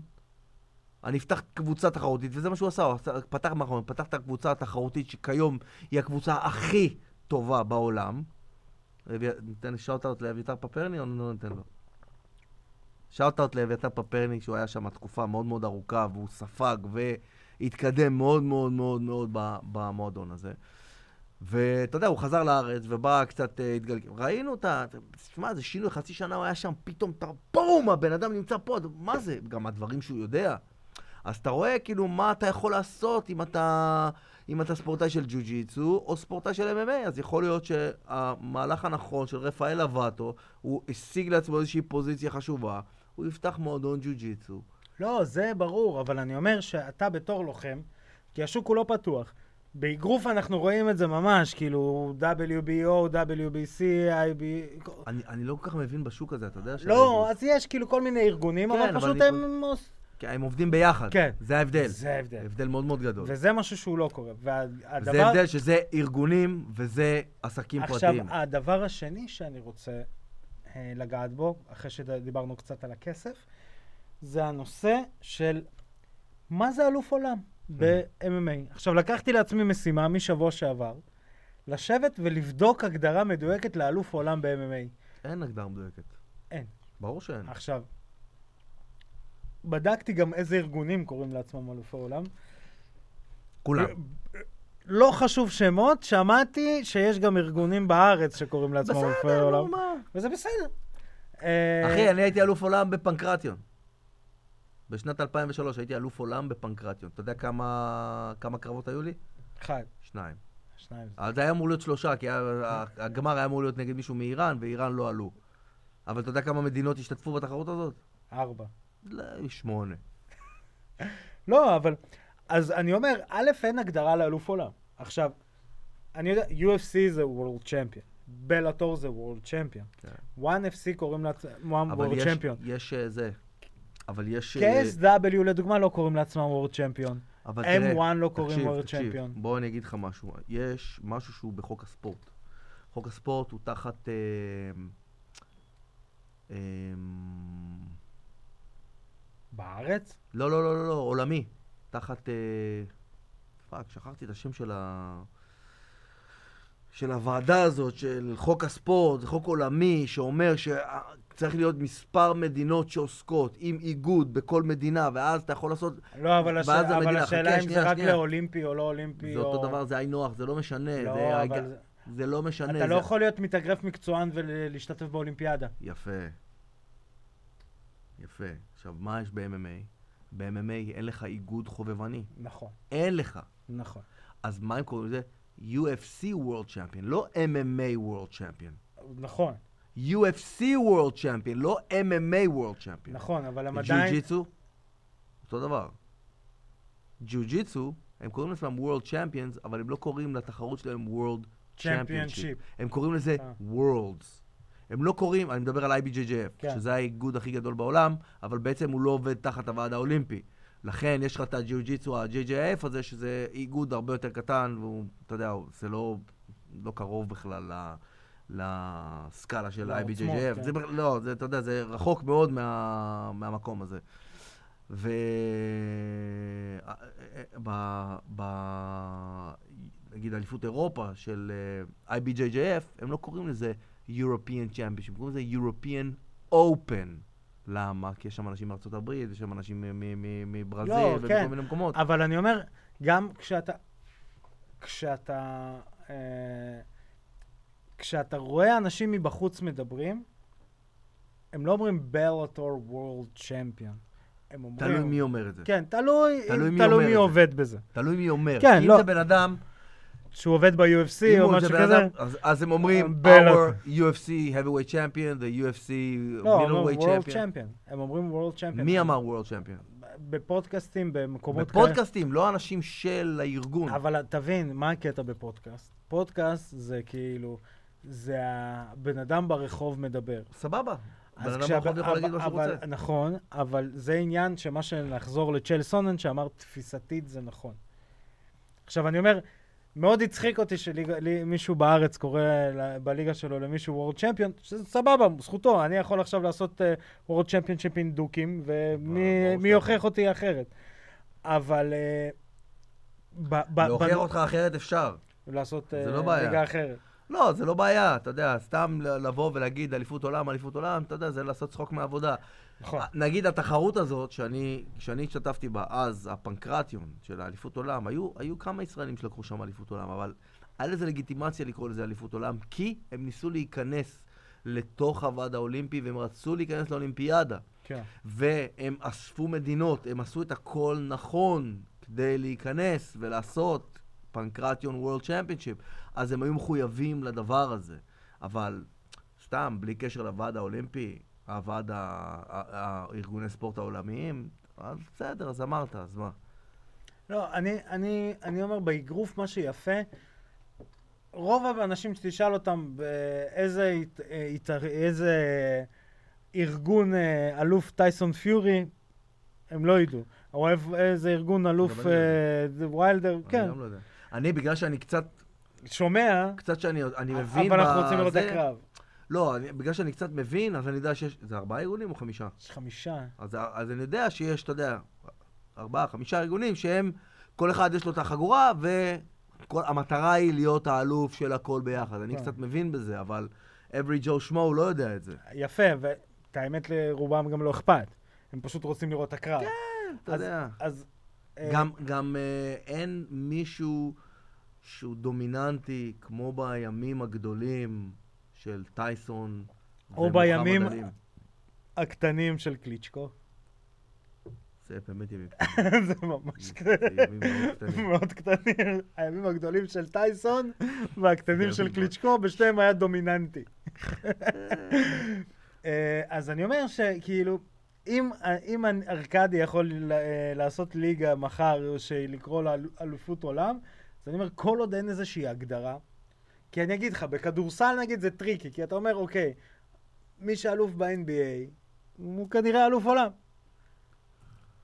B: אני אפתח קבוצה תחרותית, וזה מה שהוא עשה, הוא עשה- פתח מאחורי, פתח את הקבוצה התחרותית שכיום היא הקבוצה הכי טובה בעולם. לוי- ניתן שאוט-אאוט לאביתר פפרני או לא ניתן לו? שאוט-אאוט לאביתר פפרני, שהוא היה שם תקופה מאוד מאוד ארוכה, והוא ספג והתקדם מאוד מאוד מאוד מאוד ב- במועדון הזה. ואתה יודע, הוא חזר לארץ ובא קצת אה, התגלגל. ראינו את ה... תשמע, זה שינוי, חצי שנה הוא היה שם, פתאום, אתה- בום, הבן אדם נמצא פה, אתה- מה זה? גם הדברים שהוא יודע. אז אתה רואה, כאילו, מה אתה יכול לעשות אם אתה, אם אתה ספורטאי של ג'ו-ג'יצו או ספורטאי של MMA. אז יכול להיות שהמהלך הנכון של רפאל אבטו, הוא השיג לעצמו איזושהי פוזיציה חשובה, הוא יפתח מועדון ג'ו-ג'יצו.
A: לא, זה ברור, אבל אני אומר שאתה בתור לוחם, כי השוק הוא לא פתוח. באגרוף אנחנו רואים את זה ממש, כאילו WBO, WBC, IB...
B: אני, אני לא כל כך מבין בשוק הזה, אתה יודע?
A: לא, אז יש כאילו כל מיני ארגונים,
B: כן,
A: אבל
B: אבל
A: פשוט
B: אני-
A: הם... עוש-
B: כי הם עובדים ביחד.
A: כן.
B: זה ההבדל.
A: זה ההבדל.
B: הבדל מאוד מאוד גדול.
A: וזה משהו שהוא לא קורה.
B: זה
A: והדבר...
B: הבדל שזה ארגונים וזה עסקים
A: עכשיו, אה,
B: פרטיים.
A: הדבר השני שאני רוצה אה, לגעת בו, אחרי שדיברנו קצת על הכסף, זה הנושא של מה זה אלוף עולם
B: Mm.
A: ב-MMA. עכשיו, לקחתי לעצמי משימה משבוע שעבר, לשבת ולבדוק הגדרה מדויקת לאלוף עולם ב-MMA.
B: אין הגדרה מדויקת.
A: אין. אה,
B: ברור שאין.
A: עכשיו, בדקתי גם איזה ארגונים קוראים לעצמם אלופי עולם.
B: כולם.
A: לא חשוב שמות, שמעתי שיש גם ארגונים בארץ שקוראים לעצמם אלופי
B: בסדר,
A: עולם.
B: נו מה.
A: וזה בסדר. אה,
B: אחי, אני הייתי אלוף עולם בפנקרטיון. בשנת 2003 הייתי אלוף עולם בפנקרטיון. אתה יודע כמה כמה קרבות היו לי?
A: אחד,
B: שניים.
A: שניים.
B: אז זה היה אמור להיות שלושה, כי
A: אה.
B: היה- הגמר היה אמור להיות נגד מישהו מאיראן, ואיראן לא עלו. אבל אתה יודע כמה מדינות השתתפו בתחרות הזאת?
A: ארבע.
B: לא, שמונה.
A: לא, אבל... אז אני אומר, א', אין הגדרה לאלוף עולם. עכשיו, אני יודע, UFC זה World Champion. בלאטור זה World Champion.
B: כן.
A: 1FC קוראים לעצמם
B: אבל
A: World
B: יש-
A: Champion.
B: יש אה, זה. אבל יש... אה,
A: KSW לדוגמה לא קוראים לעצמם World Champion.
B: אבל
A: M1
B: תראה,
A: לא קוראים
B: תקשיב,
A: World
B: תקשיב,
A: Champion.
B: בוא אני אגיד לך משהו. יש משהו שהוא בחוק הספורט. חוק הספורט הוא תחת... אה, אה,
A: בארץ?
B: לא, לא, לא, לא, לא, עולמי. תחת... אה, פאק, שכחתי את השם של ה... של הוועדה הזאת, של חוק הספורט, זה חוק עולמי, שאומר שצריך להיות מספר מדינות שעוסקות עם איגוד בכל מדינה, ואז אתה יכול לעשות...
A: לא, אבל, הש...
B: ואז
A: אבל
B: המדינה-
A: השאלה
B: חכה,
A: אם זה
B: שנייה,
A: רק
B: שנייה.
A: לאולימפי או לא אולימפי.
B: זה
A: או...
B: אותו דבר, זה היינו הך, זה לא משנה.
A: לא,
B: זה,
A: אבל
B: הג-
A: זה-
B: זה לא משנה.
A: אתה לא
B: זה-
A: יכול להיות מתאגרף מקצוען ולהשתתף באולימפיאדה.
B: יפה. יפה. עכשיו, מה יש ב-MMA? ב-MMA אין לך איגוד חובבני.
A: נכון,
B: אין לך.
A: נכון.
B: אז מה הם קוראים לזה? UFC World Champion, לא MMA World Champion.
A: נכון,
B: UFC World Champion, לא MMA World Champion.
A: נכון, אבל הם עדיין...
B: ג'ו-ג'יצו, אותו דבר. ג'ו-ג'יצו, הם קוראים לעצמם World Champions, אבל הם לא קוראים לתחרות שלהם World
A: Championship.
B: Championship. הם קוראים לזה
A: אה.
B: Worlds. הם לא קוראים, אני מדבר על IBJJF,
A: כן.
B: שזה האיגוד הכי גדול בעולם, אבל בעצם הוא לא עובד תחת הוועד האולימפי. לכן יש לך את הג'יו-ג'יצו, ה-JJF הזה, שזה איגוד הרבה יותר קטן, והוא, אתה יודע, הוא- זה לא, לא קרוב בכלל ל... לסקאלה של
A: לעוצמות,
B: IBJJF.
A: כן.
B: זה, בכ- לא, זה, אתה יודע, זה רחוק מאוד מה, מהמקום הזה. ו... אה, אה, ב... ב... נגיד אליפות אירופה של אה, IBJJF, הם לא קוראים לזה European Championship, הם קוראים לזה European Open. למה? כי יש שם אנשים מארצות הברית, יש שם אנשים מ- מ- מ- מברזיל,
A: לא,
B: ומכל
A: כן.
B: מיני מקומות.
A: אבל אני אומר, גם כשאתה... כשאתה... אה, כשאתה רואה אנשים מבחוץ מדברים, הם לא אומרים בלאטור וורלד צ'מפיון. הם אומרים...
B: תלוי מי אומר את זה.
A: כן, תלוי,
B: תלוי מי אומר
A: תלוי
B: את
A: מי
B: זה.
A: עובד בזה.
B: תלוי מי אומר.
A: כן,
B: כי
A: לא.
B: אם זה בן אדם,
A: שהוא עובד ב-UFC
B: אם
A: או
B: הוא
A: משהו
B: זה בן
A: כזה. אה,
B: אדם, אז- אז הם אומרים,
A: בלאטור.
B: our UFC heavyweight champion, the UFC
A: לא, הם אומרים
B: middleweight
A: וורלד
B: champion.
A: צ'מפיון. הם אומרים וורלד צ'מפיון.
B: מי אמר World Champion?
A: בפודקאסטים, במקומות כאלה.
B: בפודקאסטים, לא אנשים של הארגון.
A: אבל תבין, מה הקטע בפודקאסט? פודקאסט זה כאילו, זה הבן אדם ברחוב מדבר.
B: סבבה. בן
A: אז
B: אדם
A: כשהבן-
B: ברחוב יכול להגיד מה שהוא
A: אבל-
B: רוצה.
A: נכון, אבל זה עניין שמה שנחזור לצ'ל סונן שאמר, תפיסתית זה נכון. עכשיו, אני אומר, מאוד הצחיק אותי שמישהו בארץ קורא ל- בליגה שלו למישהו וורד צ'מפיון, שזה סבבה, זכותו, אה, אני יכול עכשיו לעשות וורד צ'מפיונשיפ עם דוקים,
B: ברור
A: ומי
B: שאתה
A: מי יוכיח אותי אחרת. אבל... אה, ב- ב-
B: להוכיח
A: בנ-
B: אותך אחרת אפשר.
A: לעשות
B: זה
A: אה,
B: לא בעיה.
A: ליגה אחרת.
B: לא, זה לא בעיה, אתה יודע, סתם ל- לבוא ולהגיד אליפות עולם, אליפות עולם, אתה יודע, זה לעשות צחוק מהעבודה.
A: נכון.
B: נגיד התחרות הזאת, שאני, שאני השתתפתי בה אז, הפנקרטיון של האליפות עולם, היו, היו כמה ישראלים שלקחו שם אליפות עולם, אבל היה לזה לגיטימציה לקרוא לזה אליפות עולם, כי הם ניסו להיכנס לתוך הוועד האולימפי, והם רצו להיכנס לאולימפיאדה.
A: כן.
B: והם אספו מדינות, הם עשו את הכל נכון כדי להיכנס ולעשות פנקרטיון וורלד צ'מפיונשיפ, אז הם היו מחויבים לדבר הזה. אבל סתם, בלי קשר לוועד האולימפי, הוועד ה- ה- הארגוני ספורט העולמיים, אז בסדר, אז אמרת, אז מה?
A: לא, אני, אני, אני אומר, באגרוף מה שיפה, רוב האנשים שתשאל אותם באיזה הת- אה, הת- איזה ארגון אה, אלוף טייסון פיורי, הם לא ידעו. או איפ- איזה ארגון
B: גם
A: אלוף
B: אני לא
A: אה, ויילדר,
B: אני
A: כן,
B: גם לא יודע. אני, בגלל שאני קצת,
A: שומע,
B: קצת שאני אני מבין...
A: אבל
B: ב-
A: אנחנו רוצים לראות את
B: זה-
A: הקרב.
B: לא, אני- בגלל שאני קצת מבין, אז אני יודע שיש... זה ארבעה ארגונים או חמישה?
A: יש חמישה.
B: אז, אז אני יודע שיש, אתה יודע, ארבעה, חמישה ארגונים שהם, כל אחד יש לו את החגורה, והמטרה היא להיות האלוף של הכל ביחד. אני
A: כן.
B: קצת מבין בזה, אבל אברי ג'ו שמו לא יודע את זה.
A: יפה, ואת האמת לרובם גם לא אכפת. הם פשוט רוצים לראות את הקרב.
B: כן, אתה
A: כן, אז-
B: יודע.
A: אז... אה,
B: גם, גם אה, אין מישהו שהוא דומיננטי כמו בימים הגדולים של טייסון
A: או
B: ומוחמד
A: בימים-
B: עלי.
A: הקטנים של קליצ'קו. [laughs]
B: זה באמת ימים
A: זה ממש כזה.
B: ימים
A: [laughs]
B: מאוד קטנים.
A: מאוד קטנים, הימים הגדולים של טייסון והקטנים של
B: ימים.
A: קליצ'קו, בשניהם היה
B: [laughs]
A: דומיננטי. אה, אז אני אומר שכאילו, אם, אם ארקדי יכול ל- אה, לעשות ליגה מחר, שלקרוא לה אל- אלופות עולם, אז אני אומר, כל עוד אין איזושהי הגדרה, כי אני אגיד לך, בכדורסל נגיד זה טריקי, כי אתה אומר, אוקיי, מי שאלוף ב-NBA, הוא כנראה אלוף עולם.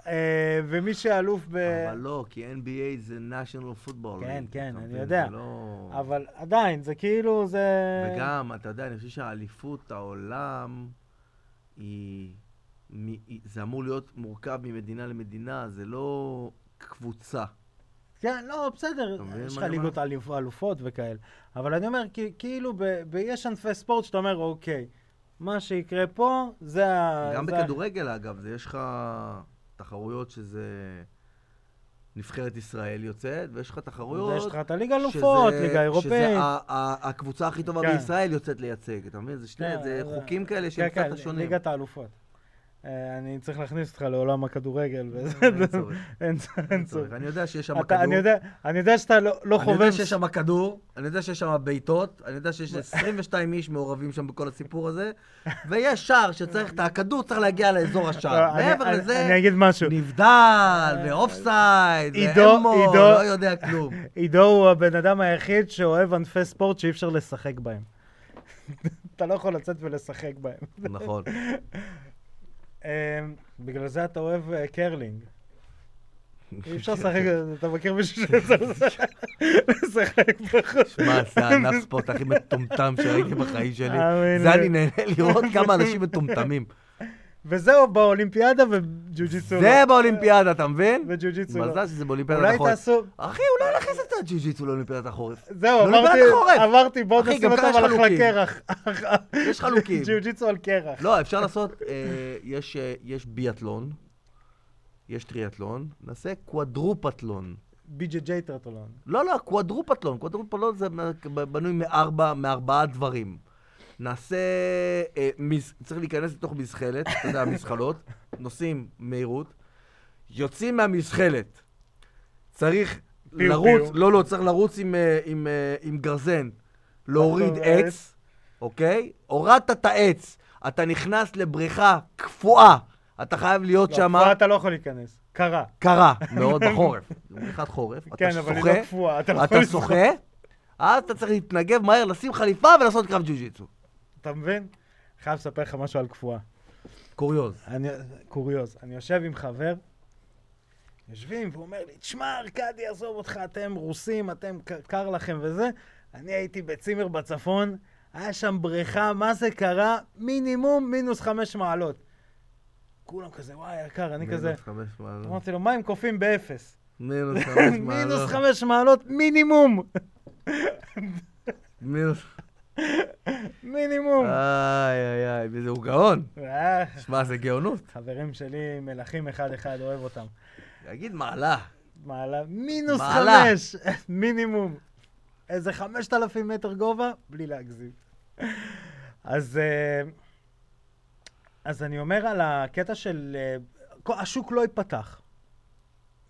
A: אה, ומי שאלוף ב...
B: אבל לא, כי NBA זה national football.
A: כן,
B: league,
A: כן,
B: אתה
A: אני
B: מבין?
A: יודע.
B: זה לא...
A: אבל עדיין, זה כאילו, זה...
B: וגם, אתה יודע, אני חושב שהאליפות העולם היא... מ- היא- זה אמור להיות מורכב ממדינה למדינה, זה לא קבוצה.
A: כן, לא, בסדר,
B: אתה מבין
A: יש
B: מה
A: לך
B: אני אומר?
A: ליגות אלופ- אלופות וכאלה. אבל אני אומר, כי- כאילו, ב- ב- יש ענפי ספורט שאתה אומר, אוקיי, מה שיקרה פה, זה ה...
B: גם
A: אה, זה-
B: בכדורגל, אגב, זה יש לך תחרויות שזה נבחרת ישראל יוצאת, ויש לך תחרויות...
A: זה יש לך את הליגה אלופות,
B: שזה-
A: ליגה
B: שזה
A: אירופאית.
B: ה- ה- הקבוצה הכי טובה
A: כן.
B: בישראל יוצאת לייצג, אתה מבין? זה שני,
A: כן,
B: זה
A: זה-
B: חוקים כאלה
A: כן,
B: שהם
A: כן,
B: קצת שונים.
A: ליגת האלופות. אה, אני צריך להכניס אותך לעולם הכדורגל, וזה...
B: אין צורך,
A: אין צורך.
B: אין צורך. אני יודע שיש שם
A: אתה- אני יודע- אני יודע שאתה לא לא
B: אני
A: חובש...
B: יודע שיש שם כדור, אני יודע שיש שם בעיטות, אני יודע שיש 22 איש מעורבים שם בכל הסיפור הזה, ויש שער שצריך, את הכדור צריך להגיע לאזור השער.
A: לא, אני-
B: מעבר
A: אני-
B: לזה,
A: אני אגיד משהו.
B: נבדל, ואופסייד,
A: עידו-
B: ואמו,
A: עידו-
B: לא יודע כלום.
A: עידו הוא הבן אדם היחיד שאוהב ענפי ספורט שאי אפשר לשחק בהם. [laughs] אתה לא יכול לצאת ולשחק בהם.
B: נכון.
A: אה, בגלל זה אתה אוהב אה, קרלינג. אי אפשר
B: [laughs]
A: לשחק, אתה מכיר מישהו [laughs] שאפשר לשחק בחוץ.
B: שמע,
A: [laughs]
B: זה הענף ספורט הכי מטומטם שראיתי בחיים שלי.
A: האמן
B: זה
A: לי.
B: אני נהנה לראות כמה אנשים מטומטמים.
A: וזהו באולימפיאדה לא. וג'ו-ג'יצו.
B: זה באולימפיאדה, אתה מבין?
A: וג'ו-ג'יצו. לא.
B: מזל שזה באולימפיאדת
A: אולי
B: החורף.
A: תעשו...
B: אחי, אולי נכניס את הג'ו-ג'יצו לאולימפיאדת החורף.
A: זהו,
B: לא
A: אמרתי,
B: נגמר החורף.
A: אמרתי, בואו
B: אחי,
A: נשים
B: גם
A: אותם
B: ככה יש
A: על אחלה
B: חלוקים.
A: קרח.
B: יש
A: [laughs]
B: חלוקים.
A: ג'ו-ג'יצו על קרח.
B: לא, אפשר לעשות, אה, יש, אה, יש ביאטלון, יש טריאטלון, נעשה קוואדרופטלון.
A: בי.ג'יי טרטולון.
B: לא, לא, קוואדרופטלון, קוואדרופטלון זה מ- בנוי מארבע, מארבעה דברים. נעשה, אה, מז... צריך להיכנס לתוך מזחלת, אתה יודע, מזחלות, נוסעים מהירות, יוצאים מהמזחלת, צריך
A: פיו,
B: לרוץ,
A: פיו.
B: לא, לא, צריך לרוץ עם, אה, עם, אה, עם גרזן, להוריד
A: לחטוב
B: עץ, אוקיי? הורדת את העץ, אתה נכנס לבריכה קפואה, אתה חייב להיות
A: לא,
B: שם
A: פה אתה לא יכול להיכנס. קרה. [laughs]
B: קרה, מאוד בחורף, בריכת חורף, אתה
A: כן, אבל היא
B: שוחה,
A: לא קפואה. אתה לא יכול
B: אתה
A: לזרוק.
B: שוחה, אז אתה צריך להתנגב מהר, לשים חליפה ולעשות קרב ג'ו-ג'יצו.
A: אתה מבין? חייב לספר לך משהו על קפואה.
B: קוריוז.
A: אני, קוריוז, אני יושב עם חבר, יושבים, והוא אומר לי, תשמע, ארקדי, עזוב אותך, אתם רוסים, אתם, ק- קר לכם וזה. אני הייתי בצימר בצפון, היה שם בריכה, מה זה קרה? מינימום מינוס חמש מעלות. כולם כזה, וואי, יקר, אני
B: מינוס
A: כזה...
B: חמש מעלות.
A: אמרתי לו, מים קופאים באפס. [laughs]
B: מינוס [laughs] חמש
A: מינוס
B: מעלות.
A: חמש מעלות מינימום.
B: מינוס...
A: מינימום.
B: אה. איי, איי, איי, וזה- הוא גאון.
A: אה,
B: שמע, זה גאונות.
A: חברים שלי מלכים אחד-אחד, אוהב אותם.
B: תגיד מעלה.
A: מעלה, מינוס
B: מעלה.
A: חמש, [laughs] מינימום. איזה חמשת אלפים מטר גובה, בלי להגזים. אז, אה, אז אני אומר על הקטע של... אה, כל- השוק לא ייפתח.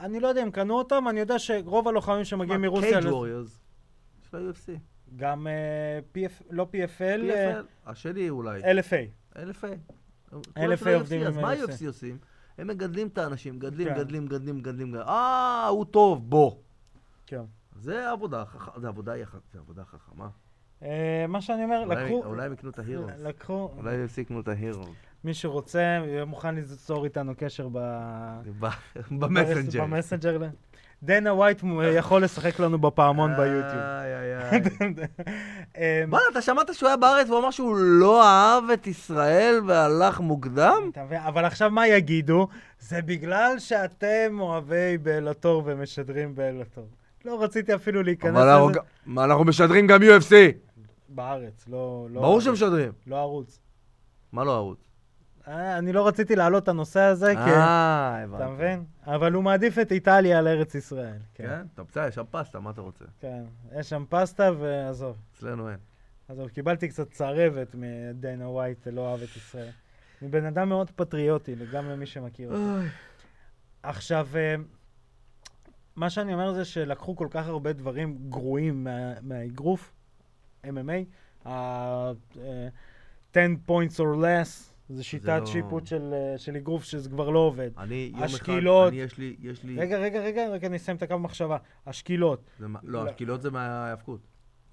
A: אני לא יודע אם קנו אותם, אני יודע שרוב הלוחמים שמגיעים מרוסיה... לא-
B: קייג' ווריורס. של ה-UFC.
A: גם אה, PF, לא PFL, אה,
B: PFL, השני אולי.
A: LFA.
B: LFA.
A: LFA עובדים
B: אז
A: עם
B: מה
A: ה- UFC?
B: ה-UFC עושים? הם מגדלים את האנשים, מגדלים,
A: כן.
B: מגדלים, מגדלים, מגדלים. מגדלים. אה, הוא טוב, בוא.
A: כן.
B: זה עבודה חכמה, זה עבודה יח- זה עבודה חכמה.
A: אה, מה שאני אומר,
B: אולי-
A: לקחו...
B: אולי הם יקנו את ההירוס.
A: לקחו,
B: אולי הם יקנו את ההירוס.
A: [laughs] מי שרוצה, יהיה מוכן ליצור איתנו קשר ב...
B: במסנג'ר.
A: במסנג'ר. ל- דנה וייט מ- יכול לשחק לנו
B: אה.
A: בפעמון ביוטיוב. [laughs]
B: איי, איי, איי.
A: אה,
B: וואלה, אתה שמעת שהוא היה בארץ והוא אמר שהוא לא אהב את ישראל והלך מוקדם?
A: אתה מבין? אבל עכשיו מה יגידו? זה בגלל שאתם אוהבי בלטור ומשדרים בלטור. לא רציתי אפילו להיכנס
B: אבל אנחנו
A: לזה.
B: גם- מה, אנחנו משדרים גם UFC.
A: בארץ, לא... לא-
B: ברור שמשדרים.
A: לא ערוץ.
B: מה לא ערוץ?
A: אה, אני לא רציתי להעלות את הנושא הזה, כי...
B: אה, הבנתי.
A: אתה מבין? אבל הוא מעדיף את איטליה על ארץ ישראל. כן.
B: כן, אתה בסדר, יש שם פסטה, מה אתה רוצה?
A: כן. יש שם פסטה, ועזוב.
B: אצלנו אין.
A: עזוב, קיבלתי קצת צרבת מדיינה ווייט, לא אוהב את ישראל. אני בן אדם מאוד פטריוטי, גם למי שמכיר אותי. עכשיו, אה, מה שאני אומר זה שלקחו כל כך הרבה דברים גרועים מה- מהאגרוף, MMA, ה- אה, 10 points or less, זו שיטת
B: לא-
A: שיפוט של, אה, של אגרוף שזה כבר לא עובד.
B: אני יום אחד,
A: השקילות.
B: אני יש לי, יש לי...
A: רגע, רגע, רגע, רק אני אסיים את הקו מחשבה. השקילות,
B: זה מה-
A: לא.
B: לא, השקילות זה מההאבקות.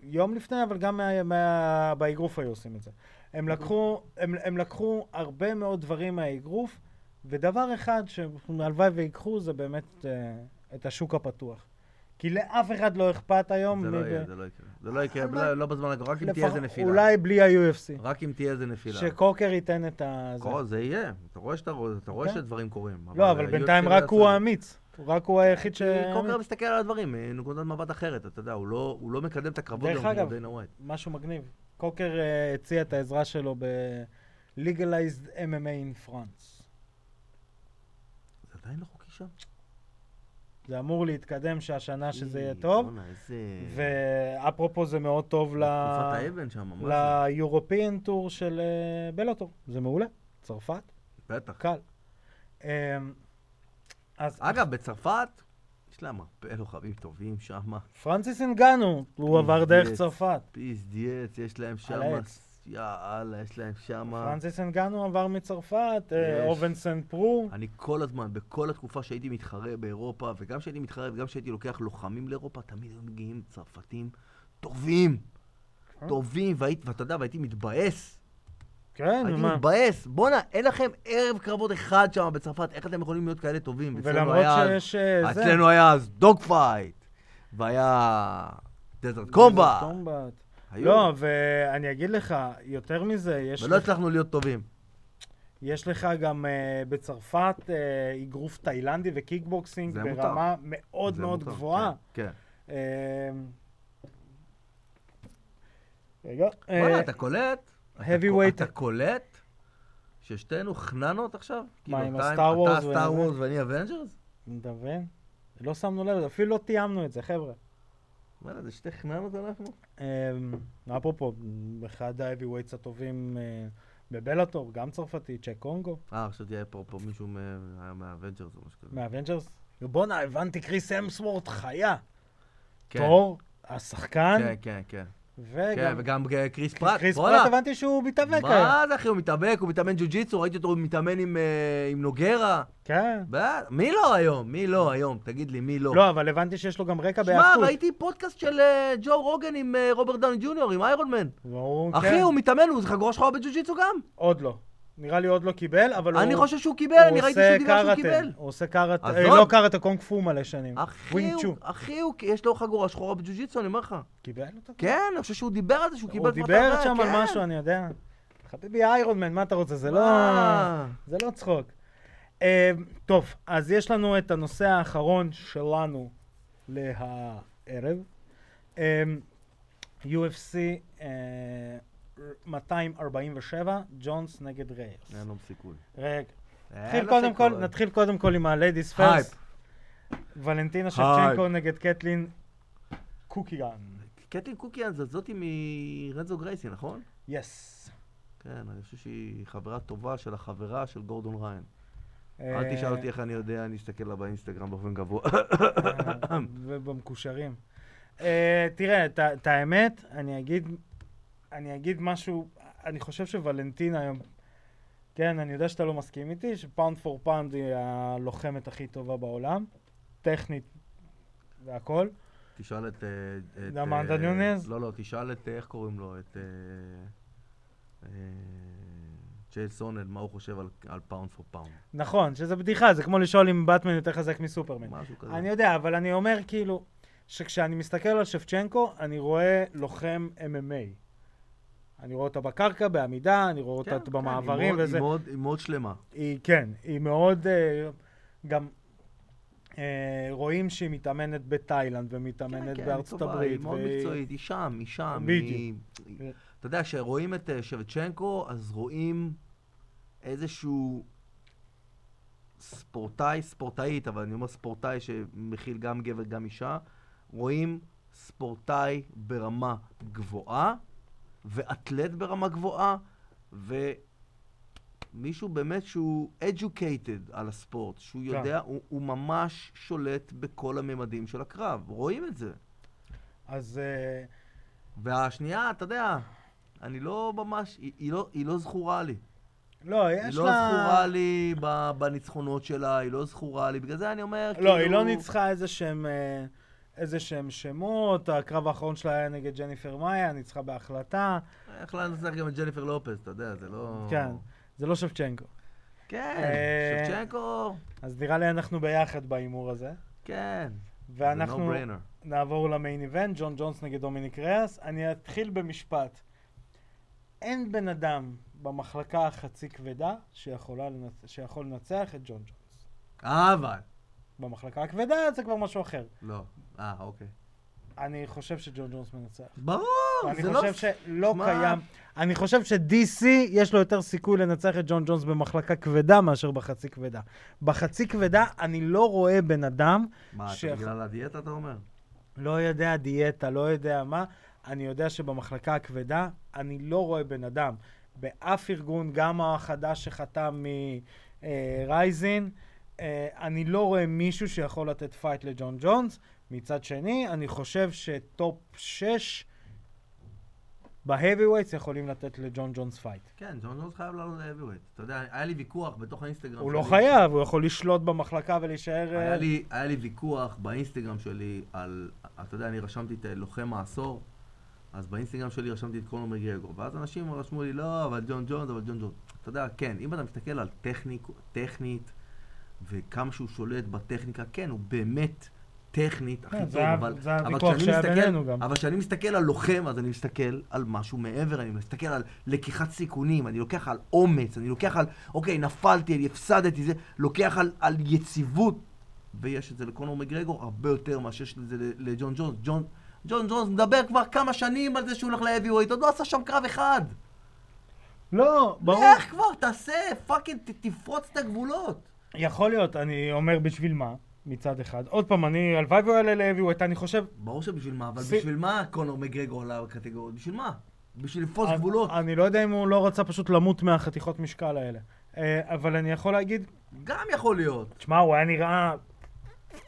A: יום לפני, אבל גם מה, מה, באגרוף היו עושים את זה. הם
B: אוקיי.
A: לקחו, הם, הם לקחו הרבה מאוד דברים מהאגרוף, ודבר אחד שהלוואי ויקחו זה באמת אה, את השוק הפתוח. כי לאף אחד לא אכפת היום.
B: זה
A: מי
B: לא
A: ב-
B: יהיה, זה לא יקרה. זה לא יקרה,
A: אבל-
B: לא- לא בזמן הקרוב, רק אם תהיה
A: לפח-
B: איזה נפילה.
A: אולי בלי ה-UFC.
B: רק אם תהיה איזה נפילה.
A: שקוקר ייתן את ה... זה.
B: קורה, זה יהיה. אתה רואה שאתה רואה- אתה רואה
A: כן.
B: שדברים קורים.
A: לא, אבל
B: ה-
A: בינתיים
B: UFC
A: רק
B: לא
A: הוא
B: יעשה.
A: האמיץ. רק הוא היחיד ש...
B: כי קוקר מסתכל על הדברים מנקודת מבט אחרת, אתה יודע, הוא לא- הוא לא מקדם את הקרבות
A: דרך
B: גם כמו
A: אגב,
B: דיינה ווייט.
A: משהו מגניב. קוקר אה, הציע את העזרה שלו ב-Legalized MMA in France.
B: זה עדיין לא חוקי שם?
A: זה אמור להתקדם
B: Mm,
A: שהשנה שזה יהיה
B: אי,
A: טוב.
B: בואנה, אה, איזה...
A: ואפרופו זה מאוד טוב ל...
B: תקופת האבן שם, מה זה?
A: ליורופיאן טור של אה, בלוטור. זה מעולה. צרפת,
B: בטח.
A: קל. אמ, אז
B: אגב, בצרפת, יש להם הרבה לוחמים טובים שם.
A: פרנסיס אינגנו, הוא עבר דרך
B: יס.
A: צרפת.
B: פיס דיאץ, יש להם שם...
A: העץ.
B: יאללה, יש להם שם...
A: פרנסיס אינגנו עבר מצרפת, אה,
B: יש.
A: אובן סנט פרו.
B: אני כל הזמן, בכל התקופה שהייתי מתחרה באירופה, וגם כשהייתי מתחרה וגם כשהייתי לוקח לוחמים לאירופה, תמיד היו מגיעים צרפתים טובים.
A: אה?
B: טובים, והיית- ואתה יודע, והייתי מתבאס.
A: כן,
B: הייתי
A: מה?
B: מתבאס. בואנה, אין לכם ערב קרבות אחד שם בצרפת, איך אתם יכולים להיות כאלה טובים? אצלנו
A: ולמרות
B: היה אז-
A: שיש... אה, זה,
B: אצלנו היה אז דוג פייט, והיה דזרט קומבה.
A: קומבט.
B: היו.
A: לא, ואני אגיד לך, יותר מזה, יש...
B: ולא
A: לך-
B: הצלחנו להיות טובים.
A: יש לך גם uh, בצרפת אה, אגרוף תאילנדי וקיקבוקסינג
B: זה מותר.
A: ברמה מאוד
B: זה
A: מאוד
B: מותר,
A: גבוהה.
B: כן.
A: כן. רגע.
B: כן.
A: אה,
B: וואלה, אתה קולט? אתה
A: heavyweight.
B: קו- אתה קולט? ששתינו חננות עכשיו? כאילו,
A: עם
B: אתה-
A: הסטאר וורס
B: אתה סטאר
A: וזה?
B: וורס ואני אבנג'רס?
A: אתה מבין? לא שמנו לב, אפילו לא תיאמנו את זה, חבר'ה.
B: וואלה, זה שתי חננות אנחנו?
A: אה, אפרופו, אחד ה-heavyweights הטובים אה, בבלאטור, גם צרפתי, צ'ק קונגו,
B: אה, חשבתי היה פה פה מישהו מה- היה מהאבנג'רס או משהו כזה.
A: מהאבנג'רס. בואנה, הבנתי, קריס אמסוורט חיה.
B: כן,
A: תור, השחקן,
B: כן, כן, כן. כן,
A: וגם
B: וגם אה, קריס פרט.
A: קריס
B: וואלה.
A: פרט הבנתי שהוא מתאבק היום.
B: מה זה אחי, הוא מתאבק, הוא מתאמן ג'ו-ג'יצו, ראיתי אותו, הוא מתאמן עם, אה, עם נוגרה.
A: כן.
B: ב- מי לא היום? מי לא היום? תגיד לי, מי לא?
A: לא, אבל הבנתי שיש לו גם רקע
B: שמע,
A: בהאבקות.
B: ראיתי פודקאסט של אה, ג'ו רוגן עם אה, רוברט דאון ג'וניור, עם איירון מן.
A: ברור, כן.
B: אחי, הוא מתאמן, הוא זה חגורה שחורה בג'ו-ג'יצו גם.
A: עוד לא. נראה לי עוד לא קיבל, אבל הוא...
B: אני חושב שהוא קיבל,
A: הוא
B: אני ראיתי
A: עושה
B: שהוא דיבר שהוא
A: קראטה.
B: קיבל.
A: הוא עושה קראטה,
B: אז
A: אה,
B: לא.
A: לא קראטה, קונג פו מלא שנים.
B: אחי,
A: ווינג צ'ו.
B: הוא- אחי, הוא- יש לו חגורה שחורה בג'ו-ג'יצו, אני אומר לך.
A: קיבל אותו?
B: כן, אני חושב שהוא דיבר על זה שהוא קיבל
A: הוא
B: כבר את
A: דיבר
B: הרע,
A: שם
B: כן.
A: על משהו, אני יודע. חביבי איירון מן, מה אתה רוצה? זה לא...
B: מה?
A: זה לא צחוק. אה, טוב, אז יש לנו את הנושא האחרון שלנו להערב. אה, UFC אה, 247, ג'ונס נגד רייס.
B: אין לו סיכוי.
A: רגע.
B: אה, אין
A: נתחיל
B: לו
A: קודם כל,
B: סיכוי.
A: נתחיל קודם כל עם הליידיס
B: הייפ.
A: פרס. ולנטינה שבצ'נקו נגד קטלין קוקיגן.
B: קטי קוקיאן זאת זאתי מרנזו אה, גרייסי, נכון?
A: יס.
B: כן, אני חושב שהיא חברה טובה של החברה של גורדון ריין. אל
A: אה,
B: תשאל אותי איך אני יודע, אני אסתכל לה באינסטגרם באופן גבוה.
A: ובמקושרים. אה, תראה, את ה- את האמת, אני אגיד, אני אגיד משהו, אני חושב שוולנטינה היום, כן, אני יודע שאתה לא מסכים איתי, שפאונד פור פאונד היא הלוחמת הכי טובה בעולם, טכנית והכל.
B: [laughs] תשאל את... אה, את,
A: דמאנטה
B: אה,
A: ניונז?
B: לא, לא, תשאל את, אה, איך קוראים לו? את... אה, אה, צ'ייל סונל, מה הוא חושב על- על פאונד פור פאונד.
A: נכון, שזה בדיחה, זה כמו לשאול אם באטמן יותר חזק מסופרמן.
B: משהו כזה. כן,
A: אני יודע, אבל אני אומר כאילו, שכשאני מסתכל על שפצ'נקו, אני רואה לוחם MMA. אני רואה אותה בקרקע, בעמידה, אני רואה
B: כן,
A: אותה
B: כן, היא
A: במעברים
B: מאוד-
A: וזה.
B: היא מאוד- היא מאוד שלמה.
A: היא, כן, היא מאוד, אה, גם אה, רואים שהיא מתאמנת בתאילנד
B: כן,
A: ומתאמנת
B: כן, היא
A: בארצות
B: טובה,
A: הברית.
B: היא מאוד
A: והיא-
B: מקצועית, היא שם, היא שם.
A: בדיוק.
B: היא- היא- אתה יודע, כשרואים את אה, שבצ'נקו, אז רואים איזשהו ספורטאי, ספורטאית, אבל אני אומר ספורטאי שמכיל גם גבר, גם אישה, רואים ספורטאי ברמה גבוהה, ואתלט ברמה גבוהה, ומישהו באמת שהוא educated על הספורט, שהוא
A: כן.
B: יודע, הוא, הוא ממש שולט בכל הממדים של הקרב, רואים את זה.
A: אז אה,
B: והשנייה, אתה יודע, אני לא ממש, היא, היא, לא, היא לא זכורה לי.
A: לא,
B: היא
A: יש
B: לא
A: לה...
B: זכורה לי ב- בניצחונות שלה, היא לא זכורה לי, בגלל זה אני אומר, כאילו...
A: לא, היא לא ניצחה איזה שהם, אה, איזה שהם שמות, הקרב האחרון שלה היה נגד ג'ניפר מאיה, ניצחה בהחלטה,
B: יכלה לנצח לא גם את ג'ניפר לופס, אתה יודע, זה לא...
A: כן, זה לא שפצ'נקו.
B: כן,
A: אה,
B: שבצ'נקו,
A: אז נראה לי אנחנו ביחד בהימור הזה,
B: כן.
A: ואנחנו
B: זה no brainer.
A: נעבור למיין איבנט, ג'ון ג'ונס נגד דומיניק ריאס. אני אתחיל במשפט. אין בן אדם במחלקה החצי כבדה שיכולה לנצ... שיכול לנצח את ג'ון ג'ונס.
B: אה, אבל.
A: במחלקה הכבדה זה כבר משהו אחר.
B: לא. אה, אוקיי.
A: אני חושב שג'ון ג'ונס מנצח.
B: ברור,
A: אני
B: זה לא...
A: חושב שלא
B: מה?
A: קיים, אני חושב ש-DC יש לו יותר סיכוי לנצח את ג'ון ג'ונס במחלקה כבדה מאשר בחצי כבדה. בחצי כבדה אני לא רואה בן אדם,
B: מה,
A: ש-
B: אתה בגלל הדיאטה אתה אומר?
A: לא יודע דיאטה, לא יודע מה, אני יודע שבמחלקה הכבדה אני לא רואה בן אדם. באף ארגון, גם החדש שחתם מרייזין, אני לא רואה מישהו שיכול לתת פייט לג'ון ג'ונס. מצד שני, אני חושב שטופ 6 בהאביווייטס יכולים לתת לג'ון ג'ונס פייט.
B: כן, ג'ון ג'ונס חייב לעלות ל-heavyweight. אתה יודע, היה לי ויכוח בתוך האינסטגרם.
A: הוא לא
B: שלי.
A: חייב, הוא יכול לשלוט במחלקה ולהישאר...
B: היה
A: אה,
B: לי, היה לי ויכוח באינסטגרם שלי על, אתה יודע, אני רשמתי את אה, לוחם העשור, אז באינסטגרם שלי רשמתי את קונור מגרגו, ואז אנשים רשמו לי, לא, אבל ג'ון ג'ונס, אבל ג'ון ג'ונס. אתה יודע, כן, אם אתה מסתכל על טכניק, טכנית, וכמה שהוא שולט בטכניקה, כן, הוא באמת טכנית הכי
A: כן,
B: טוב,
A: זה היה-
B: אבל,
A: זה היה
B: אבל
A: הוויכוח
B: כשאני
A: שהיה
B: מסתכל-
A: בינינו גם.
B: אבל כשאני מסתכל על לוחם, אז אני מסתכל על משהו מעבר, אני מסתכל על לקיחת סיכונים, אני לוקח על אומץ, אני לוקח על, אוקיי, נפלתי, אני הפסדתי, זה, לוקח על, על יציבות, ויש את זה לקונור מגרגור הרבה יותר מאשר שיש את זה ל- לג'ון ג'ונס. ג'ון, ג'ון ג'ונס מדבר כבר כמה שנים על זה שהוא הולך ל-heavyweight, עוד לא עשה שם קרב אחד.
A: לא, ברור.
B: איך כבר, תעשה, פאקינג, ת- תפרוץ את הגבולות.
A: יכול להיות, אני אומר בשביל מה, מצד אחד. עוד פעם, אני, הלוואי והוא יעלה להביאווייט, אני חושב...
B: ברור שבשביל מה, אבל
A: ס-
B: בשביל מה קונור מגרגור עלה בקטגוריות? בשביל מה? בשביל לפרוץ
A: אני-
B: גבולות.
A: אני לא יודע אם הוא לא רצה פשוט למות מהחתיכות משקל האלה. אה, אבל אני יכול להגיד,
B: גם יכול להיות.
A: תשמע, הוא היה נראה...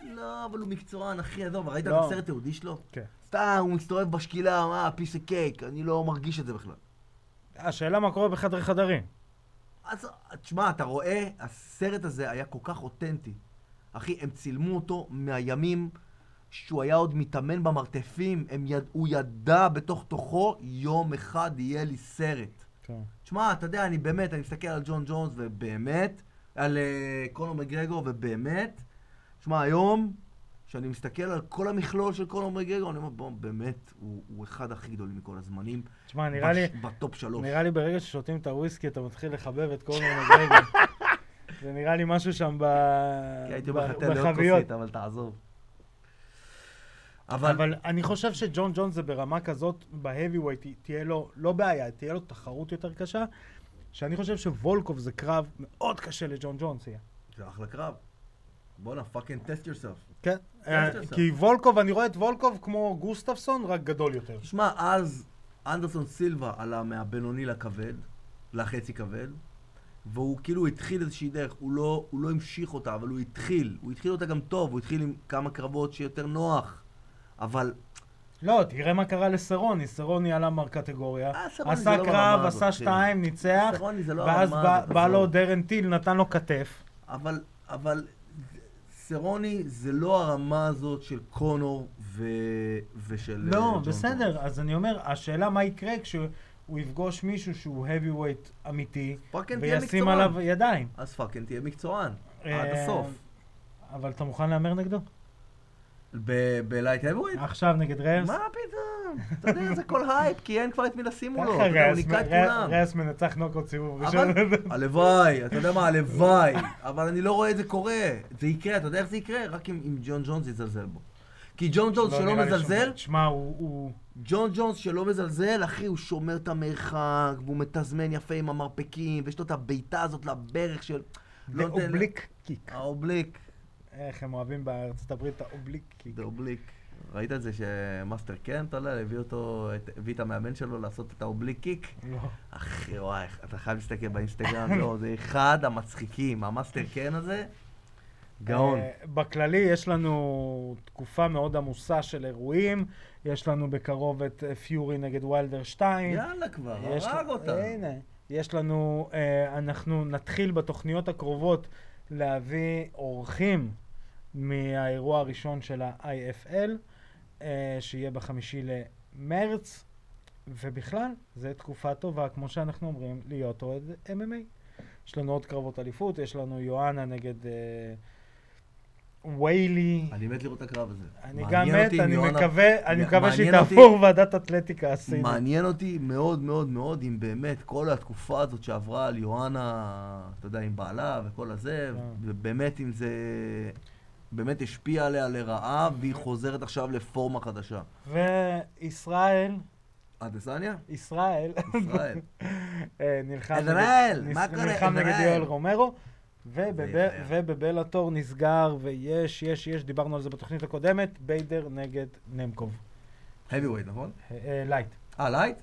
B: לא, אבל הוא מקצוען, אחי, עזוב, ראית את
A: לא.
B: הסרט תיעודי שלו?
A: כן.
B: סתם, הוא מסתובב בשקילה, מה, פיס קייק, אני לא מרגיש את זה בכלל.
A: השאלה מה קורה בחדרי חדרים.
B: אז תשמע, אתה רואה, הסרט הזה היה כל כך אותנטי. אחי, הם צילמו אותו מהימים שהוא היה עוד מתאמן במרתפים, הם יד... הוא ידע בתוך תוכו, יום אחד יהיה לי סרט.
A: כן.
B: תשמע, אתה יודע, אני באמת, אני מסתכל על ג'ון ג'ונס, ובאמת, על uh, קונור מגרגו, ובאמת, תשמע, היום, כשאני מסתכל על כל המכלול של קונור מגרגו, אני אומר, בוא, באמת, הוא, הוא אחד הכי גדולים מכל הזמנים.
A: תשמע, נראה לי,
B: בטופ שלוש.
A: נראה לי ברגע ששותים את הוויסקי אתה מתחיל לחבב את כל
B: [laughs]
A: מגרגו. זה נראה לי משהו שם ב...
B: כי הייתי
A: ב-
B: אומר לך, תן לי עוד
A: בחביות.
B: כוסית, אבל תעזוב.
A: אבל...
B: אבל,
A: אבל אני חושב שג'ון ג'ונס זה ברמה כזאת, ב-heavyweight תה- תהיה לו, לא בעיה, תהיה לו תחרות יותר קשה, שאני חושב שוולקוב זה קרב מאוד קשה לג'ון ג'ונס יהיה.
B: זה אחלה קרב. בואנה, פאקינג טסט יורסף.
A: כן. אה,
B: יש לזה.
A: כי וולקוב, אני רואה את וולקוב כמו גוסטפסון, רק גדול יותר.
B: תשמע, אז אנדרסון סילבה עלה מהבינוני לכבד, לחצי כבד, והוא כאילו התחיל איזושהי דרך, הוא לא, הוא לא המשיך אותה, אבל הוא התחיל. הוא התחיל אותה גם טוב, הוא התחיל עם כמה קרבות שיותר נוח. אבל
A: לא, תראה מה קרה לסרוני, סרוני עלה מר קטגוריה,
B: אה, סרוני זה
A: עשה
B: לא
A: קרב,
B: ברמה הזאת,
A: עשה
B: כן.
A: שתיים, ניצח,
B: סרוני זה לא
A: ואז
B: הרמה
A: בא-
B: הזאת,
A: בא לו
B: עזוב.
A: דרן טיל, נתן לו כתף.
B: אבל, אבל סרוני זה לא הרמה הזאת של קונור ו... ושל... אה,
A: לא,
B: ג'ון
A: בסדר,
B: טונס.
A: אז אני אומר, השאלה מה יקרה כשהוא יפגוש מישהו שהוא heavyweight אמיתי,
B: פאקינג תהיה
A: וישים
B: מקצוען.
A: עליו ידיים.
B: אז פאקינג תהיה מקצוען, עד
A: אה,
B: הסוף.
A: אבל אתה מוכן להמר נגדו?
B: ב- בלייט האבווייט?
A: עכשיו נגד ריירס?
B: מה פתאום? אתה יודע, זה כל הייפ, כי אין כבר את מי לשים
A: ככה
B: מולו. אתה יודע, הוא
A: ריירס-
B: לא, ניקה את
A: רי-
B: כולם.
A: ריירס מנצח נוקו סיבוב ראשון.
B: [laughs] אבל לא הלוואי, אתה יודע מה, הלוואי. אבל אני לא רואה את זה קורה. זה יקרה, אתה יודע איך זה יקרה? רק אם אם ג'ון ג'ונס יזלזל בו. כי ג'ון ג'ונס
A: לא,
B: שלא
A: נראה לי
B: מזלזל,
A: שום- תשמע, הוא... הוא-
B: ג'ון ג'ונס שלא מזלזל, אחי, הוא שומר את המרחק, והוא מתזמן יפה עם המרפקים, ויש לו את הבעיטה הזאת לברך של...
A: זה
B: לא נותן-
A: אובליק קיק.
B: האובליק.
A: איך הם אוהבים בארצות הברית את האובליק קיק.
B: זה אובליק. ראית את זה שמאסטר קנט עלה, הביא אותו, את- הביא את המאמן שלו לעשות את האובליק קיק?
A: לא.
B: אחי, וואי, אתה חייב להסתכל באינסטגרם, לא, זה אחד המצחיקים, המאסטר קן הזה, גאון.
A: אה, בכללי יש לנו תקופה מאוד עמוסה של אירועים. יש לנו בקרוב את אה, פיורי נגד ויילדר 2.
B: יאללה כבר,
A: יש
B: הרג
A: ל-
B: אותה.
A: הנה, יש לנו, אה, אנחנו נתחיל בתוכניות הקרובות להביא אורחים מהאירוע הראשון של ה-IFL, אה, שיהיה בחמישי למרץ, ובכלל, זו תקופה טובה, כמו שאנחנו אומרים, להיות אוהד MMA. יש לנו עוד קרבות אליפות, יש לנו יואנה נגד אה, ויילי.
B: אני מת לראות את הקרב הזה.
A: אני גם
B: מעניין
A: מת,
B: אותי אם
A: אני
B: יוהנה-
A: מקווה, אני
B: מע-
A: מקווה
B: מעניין
A: שהיא
B: אותי-
A: תעבור ועדת אתלטיקה הסינית.
B: מעניין אותי מאוד מאוד מאוד אם באמת כל התקופה הזאת שעברה על יואנה, אתה יודע, עם בעלה וכל הזה,
A: כן.
B: ובאמת אם זה באמת השפיע עליה לרעה, והיא חוזרת עכשיו לפורמה חדשה. אה,
A: וישראל,
B: אדסניה?
A: ישראל,
B: ישראל.
A: [laughs] אה, נלחם נגד-
B: עזראל,
A: נס-
B: מה קורה,
A: נלחם נגד
B: עזראל?
A: יואל רומרו,
B: זה יחיה.
A: ובבלאטור נסגר, ויש, יש, יש, דיברנו על זה בתוכנית הקודמת, ביידר נגד נמקוב.
B: heavyweight, נכון?
A: אה, אה, לייט.
B: אה, לייט?